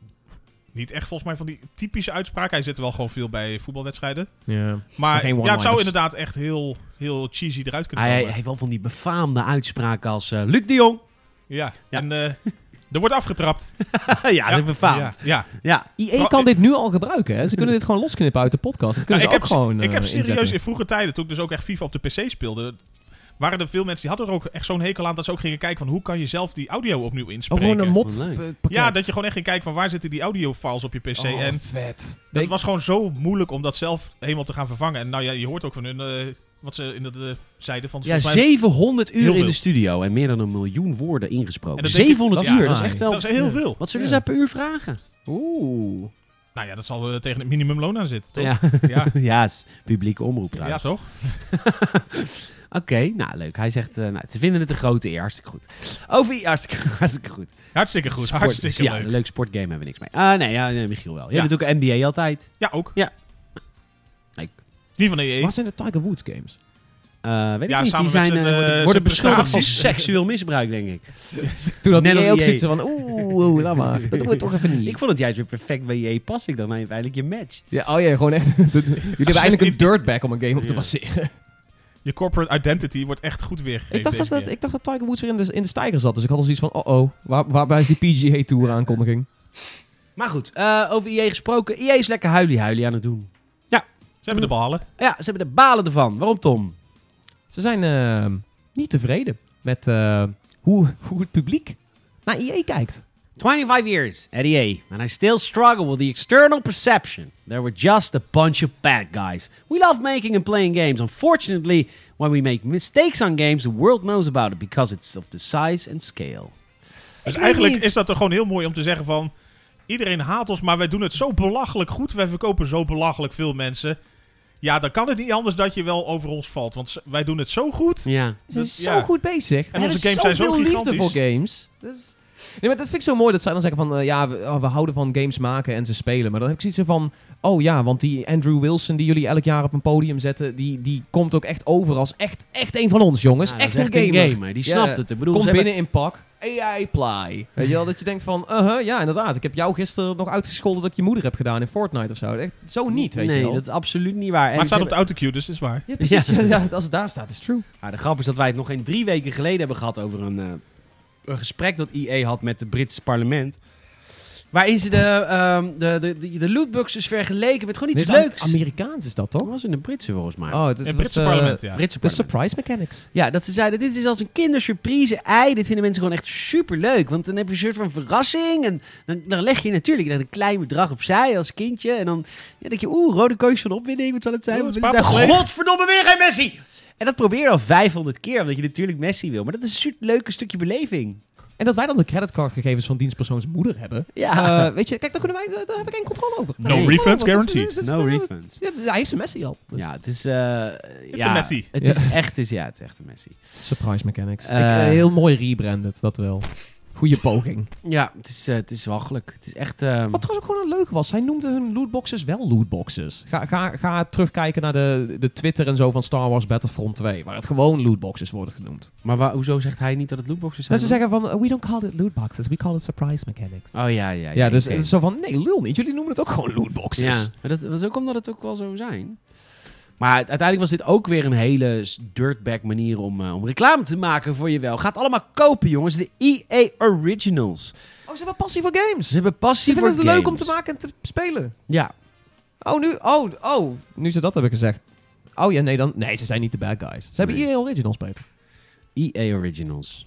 [SPEAKER 2] niet echt volgens mij van die typische uitspraken. Hij zit er wel gewoon veel bij voetbalwedstrijden.
[SPEAKER 3] Ja.
[SPEAKER 2] Maar
[SPEAKER 3] Geen
[SPEAKER 2] ja, het zou
[SPEAKER 3] one-liners.
[SPEAKER 2] inderdaad echt heel, heel cheesy eruit kunnen eh,
[SPEAKER 1] Hij,
[SPEAKER 2] komen.
[SPEAKER 1] hij heeft wel van die befaamde uitspraken als eh, Luc de Jong.
[SPEAKER 2] Ja.
[SPEAKER 1] Ja.
[SPEAKER 2] en eh, er wordt afgetrapt.
[SPEAKER 1] ja, dat is befaamd.
[SPEAKER 2] Ja, ja.
[SPEAKER 1] Ja.
[SPEAKER 3] IE E kan dit nu al gebruiken. Hè? Ze kunnen dit gewoon losknippen uit de podcast. Dat
[SPEAKER 2] Nou,
[SPEAKER 3] kunnen
[SPEAKER 2] ik
[SPEAKER 3] ze
[SPEAKER 2] heb,
[SPEAKER 3] ook gewoon
[SPEAKER 2] ik
[SPEAKER 3] eh,
[SPEAKER 2] heb serieus
[SPEAKER 3] inzetten.
[SPEAKER 2] in vroege tijden, toen ik dus ook echt FIFA op de PC speelde, waren er veel mensen die hadden er ook echt zo'n hekel aan dat ze ook gingen kijken van hoe kan je zelf die audio opnieuw
[SPEAKER 3] Oh,
[SPEAKER 2] inspreken.
[SPEAKER 3] gewoon een mod
[SPEAKER 1] Wat leuk.
[SPEAKER 3] pa- pakket.
[SPEAKER 2] ja, dat je gewoon echt ging kijken van waar zitten die audiofiles op je PC.
[SPEAKER 3] Oh,
[SPEAKER 2] en
[SPEAKER 3] vet.
[SPEAKER 2] dat
[SPEAKER 3] Ik-
[SPEAKER 2] was gewoon zo moeilijk om dat zelf helemaal te gaan vervangen. En nou ja, je hoort ook van hun eh, wat ze in dat eh, zeiden van.
[SPEAKER 1] Ja,
[SPEAKER 2] volgens mij-
[SPEAKER 1] 700 uur
[SPEAKER 2] Heel
[SPEAKER 1] in
[SPEAKER 2] veel.
[SPEAKER 1] de studio en meer dan een miljoen woorden ingesproken.
[SPEAKER 2] En dat denk ik-
[SPEAKER 1] 700
[SPEAKER 2] dat is Ah,
[SPEAKER 1] uur, dat is
[SPEAKER 3] saai.
[SPEAKER 1] echt wel...
[SPEAKER 2] Dat is heel veel.
[SPEAKER 1] Wat zullen
[SPEAKER 3] Ja.
[SPEAKER 1] ze per uur vragen?
[SPEAKER 3] Oeh.
[SPEAKER 2] Nou ja, dat zal eh, tegen het minimumloon aan zitten. Toch?
[SPEAKER 1] Ja,
[SPEAKER 2] Ja.
[SPEAKER 1] ja is publieke omroep
[SPEAKER 2] Ja,
[SPEAKER 1] trouwens.
[SPEAKER 2] toch?
[SPEAKER 1] Oké, nou leuk. Hij zegt, eh, nou, ze vinden het een grote eer. Hartstikke goed. Over, hartstikke, hartstikke goed.
[SPEAKER 2] Hartstikke goed.
[SPEAKER 1] Sport-
[SPEAKER 2] hartstikke
[SPEAKER 1] ja,
[SPEAKER 2] leuk.
[SPEAKER 1] een leuk sportgame hebben we niks mee. Ah, nee, ja, nee, Michiel wel. Jij
[SPEAKER 2] Ja.
[SPEAKER 1] hebt natuurlijk een NBA altijd.
[SPEAKER 2] Ja, ook.
[SPEAKER 1] Ja. Leuk.
[SPEAKER 2] Die van E EA.
[SPEAKER 3] Waar zijn de Tiger Woods games?
[SPEAKER 1] Eh, weet ik
[SPEAKER 2] Ja,
[SPEAKER 1] niet. Die
[SPEAKER 2] samen
[SPEAKER 1] zijn,
[SPEAKER 2] met zijn,
[SPEAKER 1] eh, worden-
[SPEAKER 2] eh,
[SPEAKER 1] worden
[SPEAKER 2] zijn
[SPEAKER 1] beschuldigd van
[SPEAKER 2] prestaties.
[SPEAKER 1] seksueel misbruik, denk ik.
[SPEAKER 3] Toen had
[SPEAKER 1] Net
[SPEAKER 3] jij
[SPEAKER 1] als
[SPEAKER 3] ook
[SPEAKER 1] EA.
[SPEAKER 3] zoiets van, oeh, oeh, laat maar. Dat doen we toch even niet.
[SPEAKER 1] Ik vond het juist weer perfect bij je. Pas ik dan uiteindelijk je match.
[SPEAKER 3] Ja, oh ja, gewoon echt. Jullie hebben eindelijk een dirtbag om een game op te
[SPEAKER 1] Ja.
[SPEAKER 3] baseren.
[SPEAKER 2] Je corporate identity wordt echt goed weergegeven.
[SPEAKER 3] Ik dacht, dat,
[SPEAKER 2] deze
[SPEAKER 3] dat,
[SPEAKER 2] keer.
[SPEAKER 3] ik dacht dat Tiger Woods weer in de, in de stijger zat. Dus ik had al zoiets van, oh-oh, waar, waarbij is die PGA-tour aankondiging?
[SPEAKER 1] Maar goed, eh, over IE gesproken. IE is lekker huilie-huilie aan het doen.
[SPEAKER 2] Ze hebben de ballen.
[SPEAKER 1] Ja, ze hebben de balen ervan. Waarom, Tom?
[SPEAKER 3] Ze zijn ehm, niet tevreden met eh, hoe, hoe het publiek naar EA kijkt.
[SPEAKER 1] 25 years at EA, and I still struggle with the external perception. They were just a bunch of bad guys. We love making and playing games. Unfortunately, when we make mistakes on games, the world knows about it because it's of the size and scale.
[SPEAKER 2] Dus
[SPEAKER 3] weet
[SPEAKER 2] eigenlijk
[SPEAKER 3] niet.
[SPEAKER 2] is dat er gewoon heel mooi om te zeggen van... Iedereen haat ons, maar wij doen het zo belachelijk goed. Wij verkopen zo belachelijk veel mensen. Ja, dan kan het niet anders dat je wel over ons valt. Want z- wij doen het zo goed.
[SPEAKER 1] Ja.
[SPEAKER 3] Ze zijn
[SPEAKER 2] Dat-
[SPEAKER 3] zo
[SPEAKER 2] ja.
[SPEAKER 3] goed bezig. En
[SPEAKER 2] onze games zijn zo
[SPEAKER 3] liefde
[SPEAKER 2] gigantisch.
[SPEAKER 3] voor games. Dat is- Nee, maar dat vind ik zo mooi dat zij dan zeggen van... eh, ja, we, oh, we houden van games maken en ze spelen. Maar dan heb ik zoiets van... Oh ja, want die Andrew Wilson die jullie elk jaar op een podium zetten... die, die komt ook echt over als echt, echt een van ons, jongens.
[SPEAKER 1] Ja, dat
[SPEAKER 3] echt,
[SPEAKER 1] is
[SPEAKER 3] een gamer.
[SPEAKER 1] Die
[SPEAKER 3] Ja.
[SPEAKER 1] snapt het. Ik bedoel,
[SPEAKER 3] Kom
[SPEAKER 1] ze
[SPEAKER 3] binnen
[SPEAKER 1] hebben-
[SPEAKER 3] in pak. AI Ply. Weet je wel, dat je denkt van... uh-huh, ja, inderdaad. Ik heb jou gisteren nog uitgescholden dat ik je moeder heb gedaan in Fortnite of zo. Echt, zo niet, weet
[SPEAKER 1] nee,
[SPEAKER 3] je wel.
[SPEAKER 1] dat is absoluut niet waar. En
[SPEAKER 2] Maar het staat
[SPEAKER 1] ze
[SPEAKER 2] op de autocue, dus dat is waar.
[SPEAKER 3] Ja, precies. Ja. als het daar staat, is het true.
[SPEAKER 1] Ja, Ah, de grap is dat wij het nog geen drie weken geleden hebben gehad over een, eh, een gesprek dat IE had met het Britse parlement. Waarin ze de, ehm, de, de, de, de lootboxes vergeleken met gewoon iets
[SPEAKER 3] Nee, het is
[SPEAKER 1] leuks.
[SPEAKER 3] Am- Amerikaans is dat,
[SPEAKER 1] Dat
[SPEAKER 3] toch?
[SPEAKER 1] was in de Britse volgens mij.
[SPEAKER 3] Oh, dat
[SPEAKER 2] In
[SPEAKER 3] was,
[SPEAKER 2] het Britse
[SPEAKER 3] eh,
[SPEAKER 2] parlement, ja.
[SPEAKER 1] Britse
[SPEAKER 3] De
[SPEAKER 1] parlement.
[SPEAKER 3] surprise mechanics.
[SPEAKER 1] Ja, dat ze zeiden, dit is als een kindersurprise ei. Dit vinden mensen gewoon echt superleuk. Want dan heb je een soort van verrassing. En dan, dan leg je natuurlijk echt een klein bedrag opzij als kindje. En dan ja, denk je, oeh, rode koosjes van opwinding. Wat zal het zijn? Wat
[SPEAKER 2] Oeh, het
[SPEAKER 1] wil het
[SPEAKER 2] is
[SPEAKER 1] zijn?
[SPEAKER 2] papa
[SPEAKER 1] Godverdomme, weer geen Messi! En dat probeer je al 500 keer, omdat je natuurlijk Messi wil. Maar dat is een soort leuke stukje beleving.
[SPEAKER 3] En dat wij dan de creditcardgegevens van dienstpersoons moeder hebben.
[SPEAKER 1] Ja.
[SPEAKER 3] Eh, weet je, kijk, daar, kunnen wij, daar heb ik geen controle over.
[SPEAKER 2] No
[SPEAKER 3] Daar heb ik geen
[SPEAKER 2] refunds
[SPEAKER 3] controle over.
[SPEAKER 2] guaranteed.
[SPEAKER 3] Dat is- dat
[SPEAKER 1] no
[SPEAKER 3] is-
[SPEAKER 1] refunds.
[SPEAKER 3] Ja, dat- hij heeft zijn Messi al. Dus-
[SPEAKER 1] Ja, het is... eh
[SPEAKER 2] is
[SPEAKER 1] ja,
[SPEAKER 2] een Messi.
[SPEAKER 1] Het
[SPEAKER 3] Ja.
[SPEAKER 1] is echt, is, ja, het is echt een Messi.
[SPEAKER 3] Surprise mechanics.
[SPEAKER 1] Eh.
[SPEAKER 3] Dus- Ik, eh, heel mooi rebranded, dat wel. Goeie poging.
[SPEAKER 1] Ja, het is, eh, het is walgelijk. Het is echt... ehm,
[SPEAKER 3] Wat trouwens ook gewoon een leuk was. Zij noemde hun lootboxes wel lootboxes. Ga, ga, ga terugkijken naar de, de Twitter en zo van Star Wars Battlefront 2. Waar het gewoon lootboxes worden genoemd.
[SPEAKER 1] Maar wa- hoezo zegt hij niet dat het lootboxes zijn?
[SPEAKER 3] Dat ze zeggen van, eh, we don't call it lootboxes, we call it surprise mechanics.
[SPEAKER 1] Oh ja, ja.
[SPEAKER 3] Ja, dus
[SPEAKER 1] oké.
[SPEAKER 3] het is zo van, nee, lul niet. Jullie noemen het ook gewoon lootboxes.
[SPEAKER 1] Ja, maar dat, dat is ook omdat het ook wel zo zijn. Maar het- uiteindelijk was dit ook weer een hele s- dirtbag manier om, eh, om reclame te maken voor je wel. Gaat allemaal kopen, jongens. De EA Originals.
[SPEAKER 3] Oh, ze hebben passie voor games.
[SPEAKER 1] Ze hebben passie
[SPEAKER 3] Ze
[SPEAKER 1] voor
[SPEAKER 3] vinden het leuk om te
[SPEAKER 1] games.
[SPEAKER 3] maken en te spelen.
[SPEAKER 1] Ja,
[SPEAKER 3] Oh, nu, oh, oh. Nu ze dat hebben gezegd. Oh ja, nee, dan, nee, ze zijn niet de bad guys. Ze hebben
[SPEAKER 1] Nee.
[SPEAKER 3] EA Originals, Peter.
[SPEAKER 1] EA E Originals.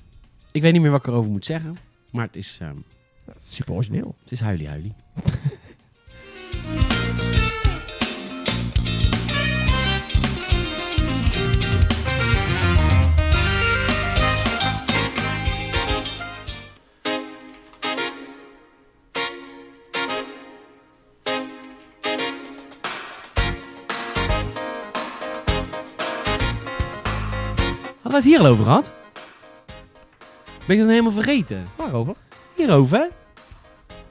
[SPEAKER 1] Ik weet niet meer wat ik erover moet zeggen. Maar het is, ehm,
[SPEAKER 3] Dat is super origineel.
[SPEAKER 1] het is huilie huilie. Hadden we het hier al over gehad? Ben ik dat nou helemaal vergeten?
[SPEAKER 3] Waarover?
[SPEAKER 1] Hierover?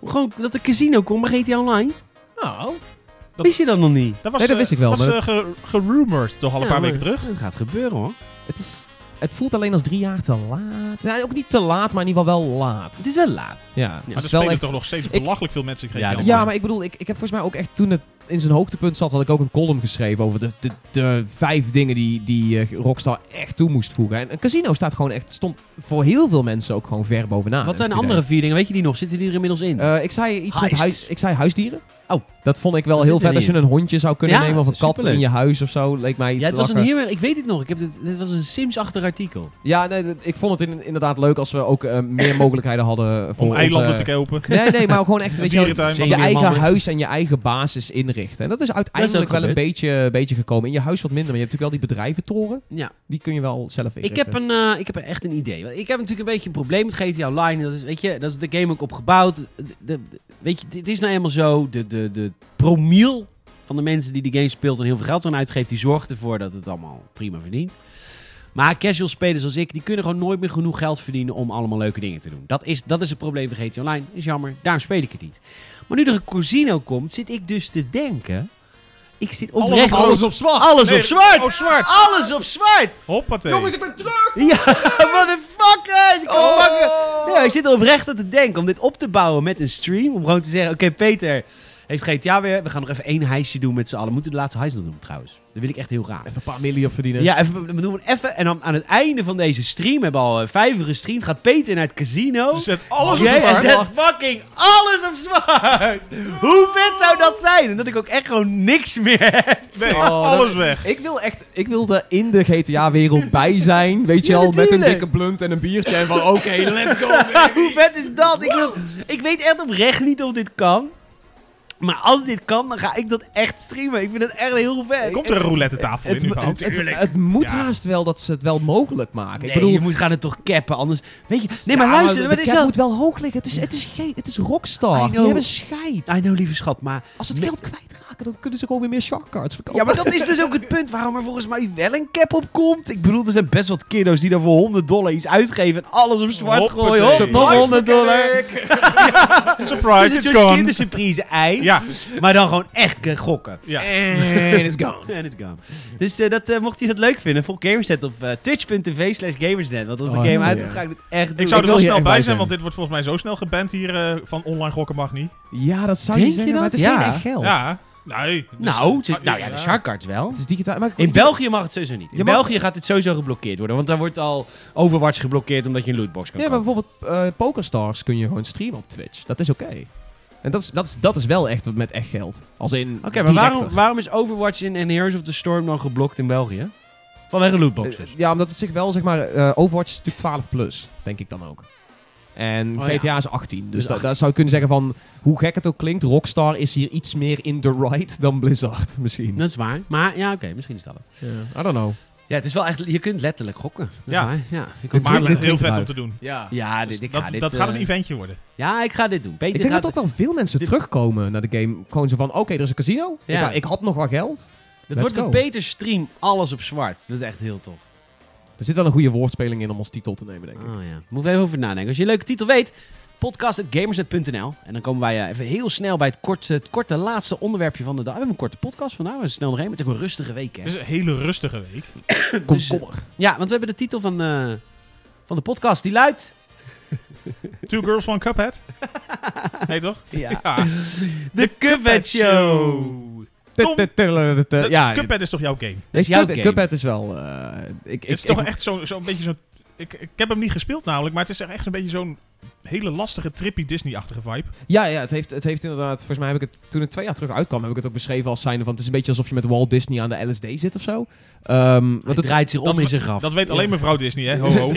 [SPEAKER 1] Gewoon dat de casino komt bij GTA Online?
[SPEAKER 3] Nou,
[SPEAKER 2] Dat-
[SPEAKER 1] Wist je dat nog niet?
[SPEAKER 2] Dat was,
[SPEAKER 3] Nee, dat
[SPEAKER 2] eh,
[SPEAKER 3] wist ik wel,
[SPEAKER 2] was
[SPEAKER 3] maar-
[SPEAKER 2] eh, ge- gerumored toch al een
[SPEAKER 1] Ja,
[SPEAKER 2] paar
[SPEAKER 1] maar
[SPEAKER 2] weken terug.
[SPEAKER 1] Het gaat gebeuren hoor.
[SPEAKER 3] het, is, het voelt alleen als drie jaar te laat. Ja, ook niet te laat, maar in ieder geval wel laat.
[SPEAKER 1] Het is wel laat.
[SPEAKER 3] Ja, het
[SPEAKER 1] Maar
[SPEAKER 3] is
[SPEAKER 2] Maar er
[SPEAKER 3] wel
[SPEAKER 2] spelen
[SPEAKER 3] echt-
[SPEAKER 2] toch nog steeds
[SPEAKER 3] Ik-
[SPEAKER 2] belachelijk veel mensen.
[SPEAKER 1] Ja,
[SPEAKER 2] Ja,
[SPEAKER 1] dat-
[SPEAKER 3] Ja, maar ik bedoel, ik, ik heb volgens mij ook echt toen het in zijn hoogtepunt zat, had ik ook een column geschreven over de, de, de vijf dingen die, die eh, Rockstar echt toe moest voegen. En een casino staat gewoon echt, stond voor heel veel mensen ook gewoon ver bovenaan.
[SPEAKER 1] Wat
[SPEAKER 3] heb
[SPEAKER 1] zijn
[SPEAKER 3] ik
[SPEAKER 1] de
[SPEAKER 3] het
[SPEAKER 1] andere vier dingen? Weet je die nog? Zitten die er inmiddels in?
[SPEAKER 3] idee. Eh, ik zei iets met
[SPEAKER 1] Heist.
[SPEAKER 3] huis, ik zei huisdieren.
[SPEAKER 1] Oh.
[SPEAKER 3] Dat vond ik wel
[SPEAKER 1] Dat
[SPEAKER 3] heel
[SPEAKER 1] zit er
[SPEAKER 3] vet als je
[SPEAKER 1] niet
[SPEAKER 3] een hondje zou kunnen
[SPEAKER 1] Ja,
[SPEAKER 3] nemen of
[SPEAKER 1] dat
[SPEAKER 3] een
[SPEAKER 1] is
[SPEAKER 3] kat
[SPEAKER 1] superleuk.
[SPEAKER 3] in je huis of zo. Leek mij iets
[SPEAKER 1] Ja, het was een
[SPEAKER 3] lakker.
[SPEAKER 1] heel erg- Ik weet het nog. Ik heb dit, dit was een Sims-achtig artikel.
[SPEAKER 3] Ja, nee, dat- ik vond het in- inderdaad leuk als we ook eh, meer mogelijkheden hadden voor eh,
[SPEAKER 2] Om
[SPEAKER 3] onze-
[SPEAKER 2] eilanden te kopen.
[SPEAKER 3] Nee, nee, maar gewoon echt, weet je, wel,
[SPEAKER 2] Dierentuin.
[SPEAKER 3] je eigen
[SPEAKER 1] Zeemeermannen.
[SPEAKER 3] huis en je eigen basis inrichten. En dat is uiteindelijk
[SPEAKER 1] wel
[SPEAKER 3] wel een beetje, beetje gekomen. In je huis wat minder, maar je hebt natuurlijk wel die bedrijventoren.
[SPEAKER 1] Ja.
[SPEAKER 3] Die kun je wel zelf inrichten.
[SPEAKER 1] Ik heb, een, eh, ik heb echt een idee. Want Ik heb natuurlijk een beetje een probleem met GTA Online. Dat is, weet je, dat is de game ook opgebouwd. De, de- weet je, het is nou eenmaal zo. De, de, de promiel van de mensen die de game speelt en heel veel geld aan uitgeeft... die zorgt ervoor dat het allemaal prima verdient. Maar casual spelers als ik, die kunnen gewoon nooit meer genoeg geld verdienen... om allemaal leuke dingen te doen. Dat is, dat is het probleem van GTA Online. is jammer, daarom speel ik het niet. Maar nu er een casino komt, zit ik dus te denken... Ik zit oprecht...
[SPEAKER 2] zwart.
[SPEAKER 1] Alles op zwart!
[SPEAKER 2] Oh, zwart.
[SPEAKER 1] Alles op zwart!
[SPEAKER 2] Hoppatee.
[SPEAKER 3] Jongens, ik ben terug!
[SPEAKER 1] Ja, wat een fuckers! Ik, kan
[SPEAKER 3] Oh.
[SPEAKER 1] makkelijk- Nee, maar ik zit er oprecht aan te denken om dit op te bouwen met een stream. Om gewoon te zeggen, oké Peter heeft GTA weer. We gaan nog even één heisje doen met z'n allen. We moeten de laatste heis nog doen trouwens. Dat wil ik echt heel graag.
[SPEAKER 3] Even een paar miljoen op verdienen.
[SPEAKER 1] Ja, even, we doen het even. En dan aan het einde van deze stream, we hebben al eh, vijf uur gestreamd, gaat Peter naar het casino.
[SPEAKER 2] Zet alles
[SPEAKER 3] Oh,
[SPEAKER 2] op
[SPEAKER 1] Jij
[SPEAKER 2] zwart.
[SPEAKER 1] zet fucking alles op zwart! Hoe vet zou dat zijn? En dat ik ook echt gewoon niks meer heb.
[SPEAKER 2] Nee,
[SPEAKER 3] Oh, dat-
[SPEAKER 2] alles weg.
[SPEAKER 3] Ik wil echt, ik wil er in de GTA-wereld bij zijn. Weet je
[SPEAKER 1] Ja,
[SPEAKER 3] al, met een
[SPEAKER 1] natuurlijk.
[SPEAKER 3] dikke blunt en een biertje. En van, oké, let's go. baby.
[SPEAKER 1] Hoe vet is dat? Ik, wil, ik weet echt oprecht niet of dit kan. Maar als dit kan, dan ga ik dat echt streamen. Ik vind het echt heel vet.
[SPEAKER 2] Komt er een roulette tafel in
[SPEAKER 3] Het,
[SPEAKER 2] überhaupt?
[SPEAKER 3] het, het, het moet
[SPEAKER 2] Ja.
[SPEAKER 3] haast wel dat ze het wel mogelijk maken.
[SPEAKER 1] Nee,
[SPEAKER 3] ik bedoel,
[SPEAKER 1] je moet gaan het toch cappen, anders... Weet je, nee,
[SPEAKER 3] ja,
[SPEAKER 1] maar luister,
[SPEAKER 3] de
[SPEAKER 1] wat is
[SPEAKER 3] cap
[SPEAKER 1] dat?
[SPEAKER 3] moet wel hoog liggen. Het is, het is, geen- het is rockstar.
[SPEAKER 1] I
[SPEAKER 3] Die
[SPEAKER 1] know.
[SPEAKER 3] hebben scheid.
[SPEAKER 1] I know, lieve schat, maar...
[SPEAKER 3] Als ze het
[SPEAKER 1] Nee.
[SPEAKER 3] geld kwijtraken, dan kunnen ze gewoon weer meer shark cards verkopen.
[SPEAKER 1] Ja, maar dat is dus ook het punt waarom er volgens mij wel een cap op komt. Ik bedoel, er zijn best wat kiddo's die daar voor 100 dollar iets uitgeven en alles op zwart
[SPEAKER 2] Hoppatee.
[SPEAKER 1] gooien. Hop, nog
[SPEAKER 2] Surprise,
[SPEAKER 1] 100 dollar. Dus
[SPEAKER 2] Surprise,
[SPEAKER 1] het
[SPEAKER 2] it's
[SPEAKER 1] is een soort
[SPEAKER 2] gone.
[SPEAKER 1] kindersurprise ei,
[SPEAKER 2] Ja,
[SPEAKER 1] maar dan gewoon echt eh, gokken.
[SPEAKER 2] ja.
[SPEAKER 3] En it's gone.
[SPEAKER 1] En het kan. Dus eh, dat, eh, mocht je dat leuk vinden, volg Gamersnet op eh, twitch.tv slash gamersnet. Want als de
[SPEAKER 3] Oh,
[SPEAKER 1] game
[SPEAKER 3] ja.
[SPEAKER 1] uitkomt, ga ik dit echt doen.
[SPEAKER 2] Ik zou er wel
[SPEAKER 3] wil hier
[SPEAKER 2] snel
[SPEAKER 3] echt bij
[SPEAKER 2] bij
[SPEAKER 3] zijn.
[SPEAKER 2] zijn, want dit wordt volgens mij zo snel geband hier eh, van online gokken mag niet.
[SPEAKER 3] Ja, dat zou
[SPEAKER 1] Denk
[SPEAKER 3] je
[SPEAKER 1] je
[SPEAKER 3] zeggen, maar
[SPEAKER 1] dat?
[SPEAKER 3] het is geen
[SPEAKER 1] Ja.
[SPEAKER 3] echt geld.
[SPEAKER 2] Ja, nee. dus-
[SPEAKER 1] Nou, het zit-
[SPEAKER 2] Ah,
[SPEAKER 1] nou ja, de sharkcards wel.
[SPEAKER 3] Het is digitaal. maar ik-
[SPEAKER 1] In België mag het sowieso niet. In
[SPEAKER 3] Je mag-
[SPEAKER 1] België gaat dit sowieso geblokkeerd worden. Want daar wordt al Overwatch geblokkeerd omdat je een lootbox kan
[SPEAKER 3] Ja, maar
[SPEAKER 1] kopen.
[SPEAKER 3] bijvoorbeeld eh PokerStars kun je gewoon streamen op Twitch. Dat is oké. En dat is, dat, is, dat is wel echt met echt geld. Als in
[SPEAKER 1] Oké, maar waarom,
[SPEAKER 3] directer.
[SPEAKER 1] waarom is Overwatch in, en Heroes of the Storm dan geblokt in België? Vanwege lootboxes.
[SPEAKER 3] Eh, Ja, omdat het zich wel, zeg maar... eh, Overwatch is natuurlijk 12 plus, denk ik dan ook. En
[SPEAKER 1] Oh, ja.
[SPEAKER 3] GTA is 18.
[SPEAKER 1] Dus
[SPEAKER 3] Dus da- daar zou je kunnen zeggen van... Hoe gek het ook klinkt, Rockstar is hier iets meer in the right dan Blizzard misschien.
[SPEAKER 1] Dat is waar. Maar ja, oké, misschien is dat het.
[SPEAKER 3] I don't know.
[SPEAKER 1] Ja, het is wel echt... Je kunt letterlijk gokken. Dat is
[SPEAKER 2] Ja.
[SPEAKER 1] waar. ja. Ik
[SPEAKER 3] Het
[SPEAKER 2] Maar
[SPEAKER 3] Dit- dit
[SPEAKER 2] heel
[SPEAKER 3] klinkt
[SPEAKER 2] vet om
[SPEAKER 3] uit.
[SPEAKER 2] te doen.
[SPEAKER 3] Ja.
[SPEAKER 1] ja,
[SPEAKER 2] Dus
[SPEAKER 1] nou, dit, ik
[SPEAKER 2] dat
[SPEAKER 1] ga dit,
[SPEAKER 2] dat gaat een
[SPEAKER 1] eh,
[SPEAKER 2] eventje worden.
[SPEAKER 1] Ja, ik ga dit doen. Peter
[SPEAKER 3] Ik denk
[SPEAKER 1] gaat
[SPEAKER 3] dat ook wel veel mensen
[SPEAKER 1] dit-
[SPEAKER 3] terugkomen naar de game. Gewoon zo van, oké, er is een casino.
[SPEAKER 1] Ja.
[SPEAKER 3] Ik, ik had nog wat geld.
[SPEAKER 1] Dat
[SPEAKER 3] Let's
[SPEAKER 1] wordt
[SPEAKER 3] go.
[SPEAKER 1] een beter stream, alles op zwart. Dat is echt heel tof.
[SPEAKER 3] Er zit wel een goede woordspeling in om als titel te nemen, denk ik.
[SPEAKER 1] Oh ja, moet even over nadenken. Als je een leuke titel weet, podcast.gamersnet.nl. En dan komen wij eh, even heel snel bij het korte, het korte laatste onderwerpje van de dag. We hebben een korte podcast vandaag, we zijn snel doorheen. maar Het is ook een rustige week, hè?
[SPEAKER 2] Het is een hele rustige week.
[SPEAKER 1] Dus, eh,
[SPEAKER 3] Komkommer.
[SPEAKER 1] ja, want we hebben de titel van, eh, van de podcast, die luidt...
[SPEAKER 2] Two Girls, One Cuphead. Nee, toch?
[SPEAKER 1] Ja.
[SPEAKER 2] Ja.
[SPEAKER 1] De Cuphead Show!
[SPEAKER 2] Tom-
[SPEAKER 3] Tut, tut, tut, tut,
[SPEAKER 2] De-
[SPEAKER 3] tut. Ja,
[SPEAKER 2] Cuphead is toch jouw game?
[SPEAKER 3] Nee,
[SPEAKER 1] is jouw
[SPEAKER 3] Cuphead-
[SPEAKER 1] game.
[SPEAKER 3] Cuphead is wel... eh, ik, ik,
[SPEAKER 2] Het is toch echt zo'n zo beetje zo'n... Ik, ik heb hem niet gespeeld namelijk, maar het is echt een beetje zo'n hele lastige, trippy, Disney-achtige vibe.
[SPEAKER 3] Ja, ja het, heeft, het heeft inderdaad... Volgens mij heb ik het... Toen het twee jaar terug uitkwam, heb ik het ook beschreven als zijnde van... Het is een beetje alsof je met Walt Disney aan de LSD zit of zo. Ehm
[SPEAKER 1] Want
[SPEAKER 3] want
[SPEAKER 1] het
[SPEAKER 3] het,
[SPEAKER 1] draait zich om
[SPEAKER 2] dat-
[SPEAKER 1] in zijn graf.
[SPEAKER 2] Dat weet alleen mevrouw Disney, hè? Ho, ho.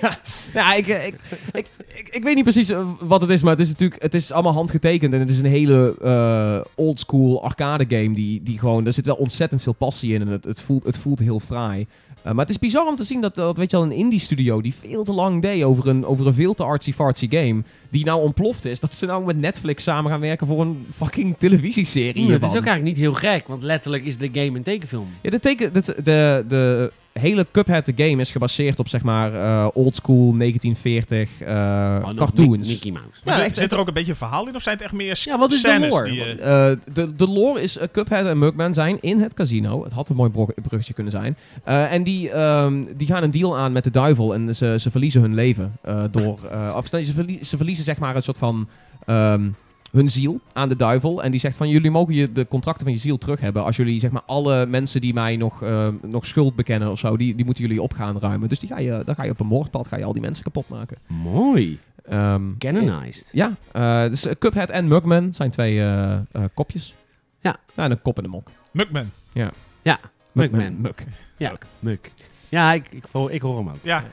[SPEAKER 3] ja, ja ik, eh, ik, ik, ik, ik weet niet precies eh, wat het is, maar het is natuurlijk, het is allemaal handgetekend en het is een hele eh, oldschool arcade game die, die gewoon, daar zit wel ontzettend veel passie in en het, het, voelt, het voelt heel fraai. Eh, maar het is bizar om te zien dat, dat weet je al, een indie studio die veel te lang deed over een, over een veel te artsy-fartsy game, die nou ontploft is, dat ze nou met Netflix samen gaan werken voor een fucking televisieserie.
[SPEAKER 1] Ja, dat is
[SPEAKER 3] hiervan.
[SPEAKER 1] ook eigenlijk niet heel gek, want letterlijk is de game een tekenfilm.
[SPEAKER 3] Ja, de, teken, de, de, de hele Cuphead de game is gebaseerd op zeg maar eh oldschool 1940 eh,
[SPEAKER 1] Oh, nog
[SPEAKER 3] cartoons.
[SPEAKER 1] Mi- Mickey Mouse.
[SPEAKER 2] Maar
[SPEAKER 3] Ja,
[SPEAKER 2] zit-
[SPEAKER 3] echt-
[SPEAKER 2] zit er ook een beetje een verhaal in? Of zijn het echt meer
[SPEAKER 1] Ja, wat is de
[SPEAKER 2] scènes
[SPEAKER 1] lore?
[SPEAKER 2] die... eh,
[SPEAKER 3] Eh, de, de lore is eh, Cuphead en Mugman zijn in het casino. Het had een mooi brug- bruggetje kunnen zijn. Eh, en die, ehm, die gaan een deal aan met de duivel en ze, ze verliezen hun leven. eh, door, eh, of nee, ze, verlie- ze verliezen zeg maar een soort van ehm, hun ziel aan de duivel. En die zegt van jullie mogen je, de contracten van je ziel terug hebben. Als jullie zeg maar alle mensen die mij nog, ehm, nog schuld bekennen of zo, die, die moeten jullie op gaan ruimen. Dus die ga je, dan ga je op een moordpad ga je al die mensen kapot maken.
[SPEAKER 1] Mooi.
[SPEAKER 3] Ehm,
[SPEAKER 1] Canonized.
[SPEAKER 3] Ja, eh, dus eh, Cuphead en Mugman zijn twee eh, eh, kopjes.
[SPEAKER 1] Ja.
[SPEAKER 3] Nou, en een kop en een mok.
[SPEAKER 2] Mugman.
[SPEAKER 1] Mugman. Eh,
[SPEAKER 3] Mug.
[SPEAKER 1] Ja, muk. Ja, ik, ik, hoor, ik hoor hem ook.
[SPEAKER 2] Ja,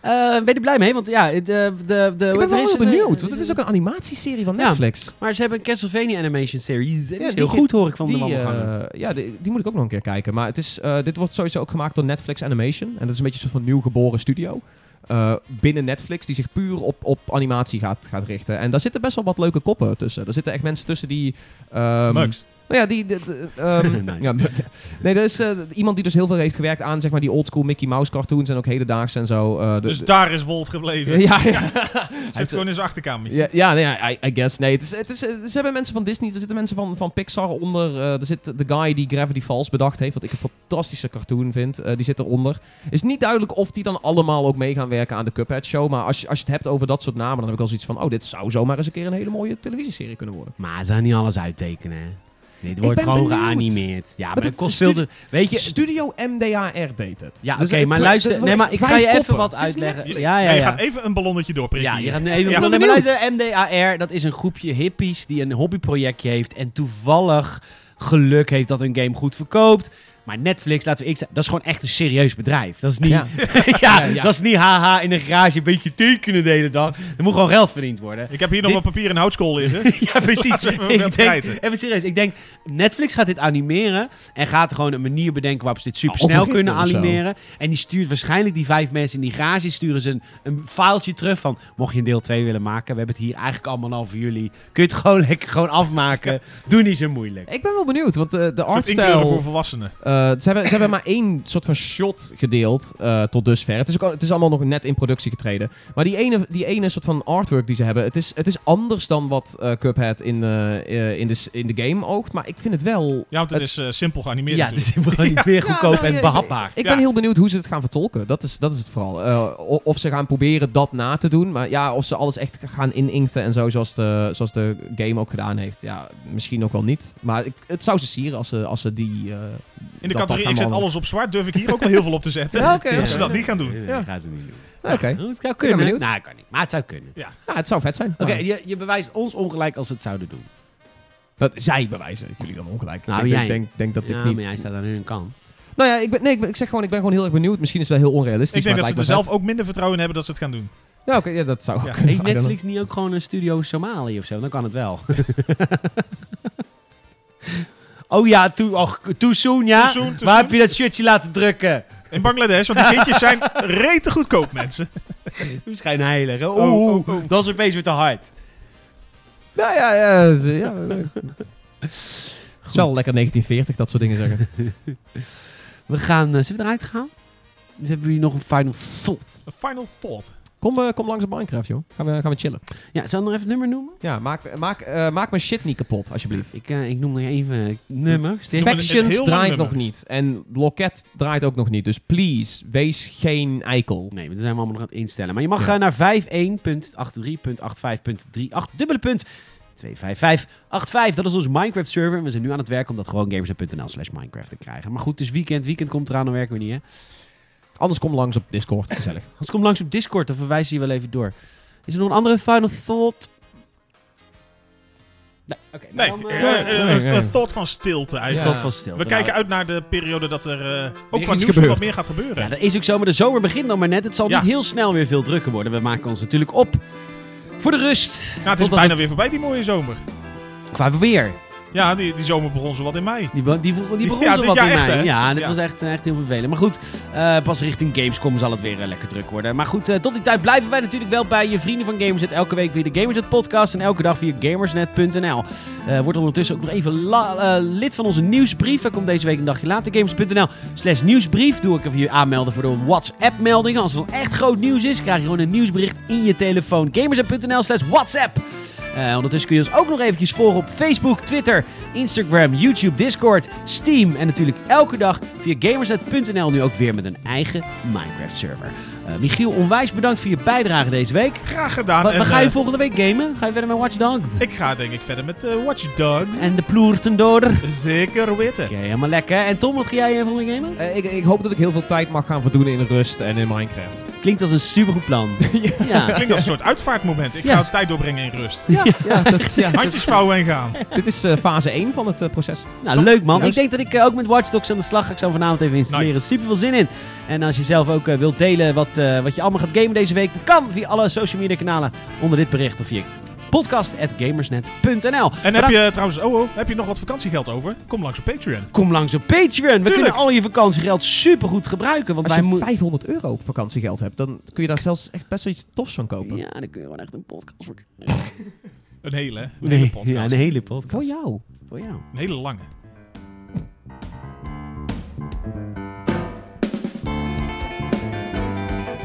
[SPEAKER 1] Eh, ben je er blij mee? Want ja, het, eh, de, de,
[SPEAKER 3] Ik ben wel
[SPEAKER 1] er is
[SPEAKER 3] heel
[SPEAKER 1] een, eh,
[SPEAKER 3] benieuwd, want het is ook een animatieserie van
[SPEAKER 1] Ja.
[SPEAKER 3] Netflix.
[SPEAKER 1] Maar ze hebben een Castlevania Animation Series. Dat
[SPEAKER 3] Ja,
[SPEAKER 1] is
[SPEAKER 3] die
[SPEAKER 1] heel
[SPEAKER 3] ge-
[SPEAKER 1] goed, hoor ik van de
[SPEAKER 3] Die,
[SPEAKER 1] wandelganger.
[SPEAKER 3] eh, ja, die, die moet ik ook nog een keer kijken. Maar het is, eh, dit wordt sowieso ook gemaakt door Netflix Animation. En dat is een beetje een soort van nieuw geboren studio. eh, binnen Netflix, die zich puur op, op animatie gaat, gaat richten. En daar zitten best wel wat leuke koppen tussen. Er zitten echt mensen tussen die... ehm,
[SPEAKER 2] Mugs.
[SPEAKER 3] Nou ja, die... de- de- ehm,
[SPEAKER 1] Nice.
[SPEAKER 3] ja, maar- nee, dat is eh, iemand die dus heel veel heeft gewerkt aan zeg maar, die oldschool Mickey Mouse cartoons en ook hedendaagse en zo. eh, de-
[SPEAKER 2] Dus
[SPEAKER 3] de-
[SPEAKER 2] daar is Wolt gebleven.
[SPEAKER 3] ja, ja.
[SPEAKER 2] Hij
[SPEAKER 3] heeft-
[SPEAKER 2] zit gewoon in zijn achterkamer.
[SPEAKER 3] Ja, ja, nee, ja, I, I guess. Nee, het is, het is, eh, ze hebben mensen van Disney, er zitten mensen van, van Pixar onder. eh, er zit de guy die Gravity Falls bedacht heeft, wat ik een fantastische cartoon vind. eh, die zit eronder. is niet duidelijk of die dan allemaal ook mee gaan werken aan de Cuphead Show. Maar als je, als je het hebt over dat soort namen, dan heb ik wel zoiets van... Oh, dit zou zomaar eens een keer een hele mooie televisieserie kunnen worden.
[SPEAKER 1] Maar ze gaan niet alles uittekenen, hè? Dit wordt
[SPEAKER 3] ben
[SPEAKER 1] gewoon
[SPEAKER 3] benieuwd.
[SPEAKER 1] geanimeerd. Ja, maar,
[SPEAKER 3] het
[SPEAKER 1] het kost
[SPEAKER 3] studie-
[SPEAKER 1] veel te... Weet je...
[SPEAKER 3] Studio MDR deed het.
[SPEAKER 1] Ja,
[SPEAKER 3] Dus
[SPEAKER 1] oké,
[SPEAKER 3] het-
[SPEAKER 1] maar
[SPEAKER 3] het-
[SPEAKER 1] luister...
[SPEAKER 3] het-
[SPEAKER 1] Nee, maar ik ga je
[SPEAKER 3] vijf
[SPEAKER 1] even
[SPEAKER 3] koppen.
[SPEAKER 1] wat
[SPEAKER 3] Het is
[SPEAKER 1] uitleggen.
[SPEAKER 3] Netflix.
[SPEAKER 1] Ja, ja,
[SPEAKER 2] En je
[SPEAKER 1] ja.
[SPEAKER 2] gaat even een ballonnetje doorprikken.
[SPEAKER 1] Ja,
[SPEAKER 2] hier.
[SPEAKER 1] je gaat nu even...
[SPEAKER 2] Ja.
[SPEAKER 1] Nee, maar
[SPEAKER 3] benieuwd.
[SPEAKER 1] luister, MDAR, dat is een groepje hippies die een hobbyprojectje heeft en toevallig geluk heeft dat hun game goed verkoopt. Maar Netflix, laten we ik zeggen, dat is gewoon echt een serieus bedrijf. Dat is niet...
[SPEAKER 3] Ja.
[SPEAKER 1] ja,
[SPEAKER 3] Ja, ja.
[SPEAKER 1] dat is niet haha in een garage een beetje tekenen de hele dag. Er moet gewoon geld verdiend worden.
[SPEAKER 2] Ik heb hier nog
[SPEAKER 1] Dit-
[SPEAKER 2] wat papier en houtskool liggen.
[SPEAKER 1] ja, precies.
[SPEAKER 2] Laten we even
[SPEAKER 1] Ik
[SPEAKER 2] wat
[SPEAKER 1] denk,
[SPEAKER 2] krijten.
[SPEAKER 1] even serieus. Ik denk, Netflix gaat dit animeren en gaat gewoon een manier bedenken waarop ze dit supersnel
[SPEAKER 3] Of een
[SPEAKER 1] kunnen
[SPEAKER 3] ritme of zo.
[SPEAKER 1] animeren. En die stuurt waarschijnlijk die vijf mensen in die garage, sturen ze een, een filetje terug van, mocht je een deel 2 willen maken, we hebben het hier eigenlijk allemaal al voor jullie. Kun je het gewoon lekker gewoon afmaken. Doe niet zo moeilijk.
[SPEAKER 3] Ik ben wel benieuwd, want eh, de
[SPEAKER 2] Een soort inkleuren
[SPEAKER 3] artstijl...
[SPEAKER 2] voor volwassenen.
[SPEAKER 3] Eh, ze, hebben, ze hebben maar één soort van shot gedeeld eh, tot dusver. Het is, ook, al- het is allemaal nog net in productie getreden. Maar die ene, die ene soort van artwork die ze hebben, het is, het is anders dan wat eh, Cuphead in, eh, eh, in, de, s- in de game oogt. Maar ik vind het wel...
[SPEAKER 2] Ja, want het is eh, simpel geanimeerd
[SPEAKER 1] Ja, het
[SPEAKER 2] natuurlijk.
[SPEAKER 1] is gewoon weer goedkoop
[SPEAKER 3] Ja, nou,
[SPEAKER 1] en
[SPEAKER 3] ja,
[SPEAKER 1] behapbaar.
[SPEAKER 3] Ik ben
[SPEAKER 2] Ja.
[SPEAKER 3] heel benieuwd hoe ze het gaan vertolken. Dat is, dat is het vooral. Eh, o- of ze gaan proberen dat na te doen. Maar ja, of ze alles echt gaan ininken en zo, zoals de, zoals de game ook gedaan heeft. Ja, misschien ook wel niet. Maar ik, het zou ze sieren als ze, als ze die... eh,
[SPEAKER 2] In
[SPEAKER 3] dat-
[SPEAKER 2] de
[SPEAKER 3] dat
[SPEAKER 2] categorie
[SPEAKER 3] gaan
[SPEAKER 2] ik zet
[SPEAKER 3] behandelen.
[SPEAKER 2] alles op zwart, durf ik hier ook wel heel veel op te zetten.
[SPEAKER 3] Ja, oké.
[SPEAKER 2] Als ze
[SPEAKER 3] Ja.
[SPEAKER 2] dat niet gaan doen.
[SPEAKER 1] Nee, nee,
[SPEAKER 3] Ja.
[SPEAKER 1] dat gaan ze niet doen.
[SPEAKER 3] Oké.
[SPEAKER 1] Nou, het zou
[SPEAKER 3] ben
[SPEAKER 1] kunnen.
[SPEAKER 3] benieuwd. Oh.
[SPEAKER 1] nou, het kan niet. Maar het zou kunnen.
[SPEAKER 3] Ja, het zou vet zijn.
[SPEAKER 1] Oké,
[SPEAKER 3] Maar-
[SPEAKER 1] je, je bewijst ons ongelijk als we het zouden doen.
[SPEAKER 3] Dat zij bewijzen jullie dan ongelijk.
[SPEAKER 1] Nou,
[SPEAKER 3] ik denk,
[SPEAKER 1] jij.
[SPEAKER 3] denk, denk dat dit
[SPEAKER 1] ja,
[SPEAKER 3] niet...
[SPEAKER 1] maar jij staat aan hun kant.
[SPEAKER 3] Nou ja, ik, ben, nee, ik, ben- ik zeg gewoon, ik ben gewoon heel erg benieuwd. Misschien is het wel heel onrealistisch,
[SPEAKER 2] Ik denk dat
[SPEAKER 3] maar
[SPEAKER 2] ze
[SPEAKER 3] het
[SPEAKER 2] er
[SPEAKER 3] lijkt me
[SPEAKER 2] zelf ook minder vertrouwen in hebben dat ze het gaan doen.
[SPEAKER 3] vet. Ja, oké, ja, dat zou ook
[SPEAKER 2] Ja.
[SPEAKER 3] kunnen.
[SPEAKER 1] Heeft
[SPEAKER 3] I don't
[SPEAKER 1] Netflix niet ook gewoon een studio Somalië of zo? Dan kan het wel. oh ja, too, oh, too soon, ja.
[SPEAKER 2] Too soon, too
[SPEAKER 1] Waar heb
[SPEAKER 2] soon.
[SPEAKER 1] je dat shirtje laten drukken?
[SPEAKER 2] In Bangladesh, want die kindjes zijn rete goedkoop, mensen.
[SPEAKER 1] Misschien heilig. Oeh,
[SPEAKER 2] Oh, oh,
[SPEAKER 1] oeh, dat is opeens weer te hard.
[SPEAKER 3] know. Nou ja, ja, ja, ze- ja, ja. Het is wel lekker 1940, dat soort dingen zeggen.
[SPEAKER 1] We gaan, eh, zullen we eruit gaan? Dus hebben jullie nog een final thought?
[SPEAKER 2] A Final thought.
[SPEAKER 3] Kom, eh, kom langs op Minecraft, joh. Gaan we, gaan we chillen.
[SPEAKER 1] Ja, zal ik nog even het nummer noemen?
[SPEAKER 3] Ja, maak, maak, eh, maak mijn shit niet kapot, alsjeblieft.
[SPEAKER 1] Ik, eh, ik noem nog even het nummer. Stil-
[SPEAKER 2] Noem een- een heel
[SPEAKER 3] Factions
[SPEAKER 2] lang
[SPEAKER 3] draait
[SPEAKER 2] nummer.
[SPEAKER 3] nog niet. En Loket draait ook nog niet. Dus please, wees geen eikel.
[SPEAKER 1] Nee, maar daar zijn we allemaal nog aan het instellen. Maar je mag eh, naar 51.83.85.38 dubbele punt 25585. Dat is ons Minecraft server. We zijn nu aan het werk om dat gewoon gamers.nl slash Minecraft te krijgen. Maar goed, het is weekend. Weekend komt eraan, dan werken we niet hè.
[SPEAKER 3] Anders kom langs op Discord, gezellig.
[SPEAKER 1] Als kom langs op Discord, dan verwijzen je wel even door. Is er nog een andere final thought? Nee, oké.
[SPEAKER 2] Nee,
[SPEAKER 1] dan,
[SPEAKER 2] eh,
[SPEAKER 1] eh,
[SPEAKER 2] eh,
[SPEAKER 3] nee,
[SPEAKER 2] een-
[SPEAKER 3] nee.
[SPEAKER 2] een thought van stilte
[SPEAKER 1] ik
[SPEAKER 2] eigenlijk.
[SPEAKER 1] zat van stil.
[SPEAKER 2] We kijken uit naar de periode dat er eh, ook qua
[SPEAKER 3] iets
[SPEAKER 2] nieuws nog wat
[SPEAKER 3] gebeurt.
[SPEAKER 2] meer gaat gebeuren.
[SPEAKER 1] Ja, dat is ook zo, maar de zomer begint dan maar net. Het zal
[SPEAKER 2] Ja.
[SPEAKER 1] niet heel snel weer veel drukker worden. We maken ons natuurlijk op voor de rust.
[SPEAKER 2] nou, het is
[SPEAKER 1] Totdat
[SPEAKER 2] bijna
[SPEAKER 1] het-
[SPEAKER 2] weer voorbij, die mooie zomer.
[SPEAKER 1] Qua weer.
[SPEAKER 2] Ja, die, die zomer begon zo wat in mei.
[SPEAKER 1] Die, be- die, vo- die begon
[SPEAKER 2] Ja,
[SPEAKER 1] zo
[SPEAKER 2] dit
[SPEAKER 1] wat in
[SPEAKER 2] jaar
[SPEAKER 1] mij.
[SPEAKER 2] echt, hè?
[SPEAKER 1] Ja, dit
[SPEAKER 2] Ja.
[SPEAKER 1] was echt, eh, echt heel vervelend. Maar goed, eh, pas richting Gamescom zal het weer eh, lekker druk worden. Maar goed, eh, tot die tijd blijven wij natuurlijk wel bij je vrienden van Gamersnet. Elke week via de Gamersnet podcast en elke dag via gamersnet.nl. Eh word ondertussen ook nog even la- eh, lid van onze nieuwsbrief. Hij komt deze week een dagje later. Gamersnet.nl slash nieuwsbrief. Doe ik even je aanmelden voor de WhatsApp meldingen. Als er dan echt groot nieuws is, krijg je gewoon een nieuwsbericht in je telefoon. Gamersnet.nl slash WhatsApp. Eh, ondertussen kun je ons ook nog eventjes volgen op Facebook, Twitter, Instagram, YouTube, Discord, Steam. En natuurlijk elke dag via gamersnet.nl nu ook weer met een eigen Minecraft-server. Eh, Michiel, onwijs bedankt voor je bijdrage deze week.
[SPEAKER 2] Graag gedaan.
[SPEAKER 1] Wat,
[SPEAKER 2] en,
[SPEAKER 1] wat ga je
[SPEAKER 2] eh,
[SPEAKER 1] volgende week gamen? Ga je verder met Watch Dogs?
[SPEAKER 2] ik ga denk ik verder met eh, Watch Dogs.
[SPEAKER 1] En de ploerten door. Oké,
[SPEAKER 2] Zeker weten.
[SPEAKER 1] helemaal lekker. En Tom, wat ga jij eh, volgende week gamen?
[SPEAKER 3] Eh, ik, ik hoop dat ik heel veel tijd mag gaan verdoen in rust en in Minecraft.
[SPEAKER 1] Klinkt als een supergoed plan. ja.
[SPEAKER 2] Klinkt als een soort uitvaartmoment. Ik
[SPEAKER 1] Ja.
[SPEAKER 2] ga tijd doorbrengen in rust.
[SPEAKER 3] Ja, ja, dat, is- ja
[SPEAKER 2] Handjes vouwen en gaan.
[SPEAKER 3] dat- dit is eh, fase 1 van het eh, proces.
[SPEAKER 1] Nou, leuk man.
[SPEAKER 3] Juist.
[SPEAKER 1] Ik denk dat ik eh, ook met Watch Dogs aan de slag ga. Ik zal vanavond even installeren.
[SPEAKER 2] Nice.
[SPEAKER 1] Super veel zin in. En als je zelf ook eh, wilt delen wat, eh, wat je allemaal gaat gamen deze week, dat kan via alle social media kanalen onder dit bericht of via podcast.gamersnet.nl.
[SPEAKER 2] En heb
[SPEAKER 1] Bedankt.
[SPEAKER 2] je trouwens, oh, oh, heb je nog wat vakantiegeld over? Kom langs op Patreon.
[SPEAKER 1] Kom langs op Patreon. We kunnen al je vakantiegeld supergoed gebruiken. Want
[SPEAKER 3] Als
[SPEAKER 1] wij
[SPEAKER 3] je
[SPEAKER 1] moeten.
[SPEAKER 3] 500 euro op vakantiegeld hebt, dan kun je daar zelfs echt best wel iets tofs van kopen.
[SPEAKER 1] Ja, dan kun je gewoon echt een podcast voor
[SPEAKER 2] Een hele, een hele
[SPEAKER 1] Nee,
[SPEAKER 2] podcast.
[SPEAKER 1] ja, een hele podcast.
[SPEAKER 3] Voor jou.
[SPEAKER 1] Voor jou.
[SPEAKER 2] Een hele lange.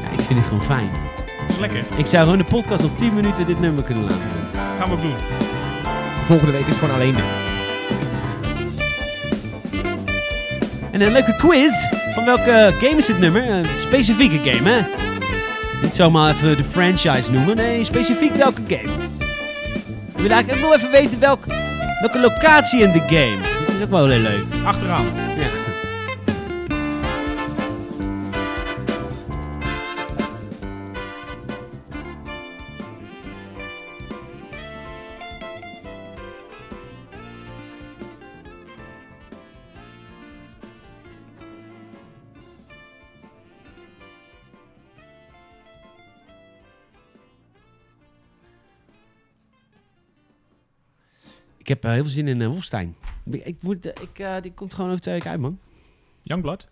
[SPEAKER 1] Ja, ik vind dit gewoon fijn.
[SPEAKER 2] Dat is lekker.
[SPEAKER 1] Ik zou gewoon de podcast op 10 minuten dit nummer kunnen laten doen.
[SPEAKER 2] Gaan we ook doen.
[SPEAKER 3] Volgende week is gewoon alleen dit.
[SPEAKER 1] En een leuke quiz. Van welke game is dit nummer? Een specifieke game, hè? Niet zomaar even de franchise noemen. Nee, specifiek welke game. Ik wil eigenlijk ook wel even weten welk, welke locatie in de game. Dat is ook wel heel leuk.
[SPEAKER 2] Achteraan.
[SPEAKER 1] Ja. Ik heb eh, heel veel zin in eh, Wolfenstein. Ik, ik moet, eh, ik, eh, die komt gewoon over twee weken uit, man.
[SPEAKER 2] Youngblood.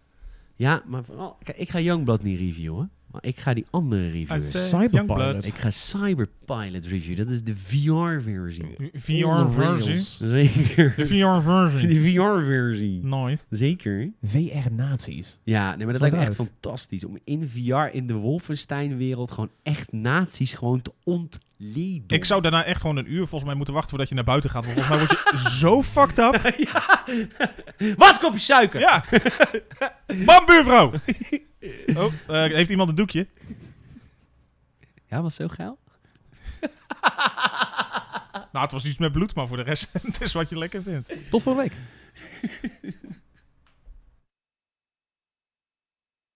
[SPEAKER 1] Ja, maar vooral- kijk, ik ga Youngblood niet reviewen. Maar ik ga die andere reviewen.
[SPEAKER 2] Uit, eh,
[SPEAKER 3] Cyberpilot.
[SPEAKER 2] Youngblood.
[SPEAKER 1] Ik ga Cyberpilot reviewen. Dat is de VR-versie.
[SPEAKER 2] VR versie. De
[SPEAKER 1] Zeker.
[SPEAKER 2] VR versie.
[SPEAKER 1] De VR-versie.
[SPEAKER 2] Nice.
[SPEAKER 1] Zeker.
[SPEAKER 3] VR-naties.
[SPEAKER 1] Ja, nee, maar dat
[SPEAKER 3] Zo
[SPEAKER 1] lijkt me echt
[SPEAKER 3] duidelijk.
[SPEAKER 1] fantastisch. Om in VR, in de Wolfenstein-wereld, gewoon echt nazi's gewoon te ontleden.
[SPEAKER 2] Ik zou daarna echt gewoon een uur volgens mij moeten wachten voordat je naar buiten gaat. Want volgens mij word je zo fucked up.
[SPEAKER 1] Wat, kopje suiker?
[SPEAKER 2] Ja. Man, buurvrouw. Oh, eh, heeft iemand een doekje?
[SPEAKER 1] Ja, was zo geil.
[SPEAKER 2] Nou, het was iets met bloed, maar voor de rest, het is wat je lekker vindt.
[SPEAKER 3] Tot volgende week.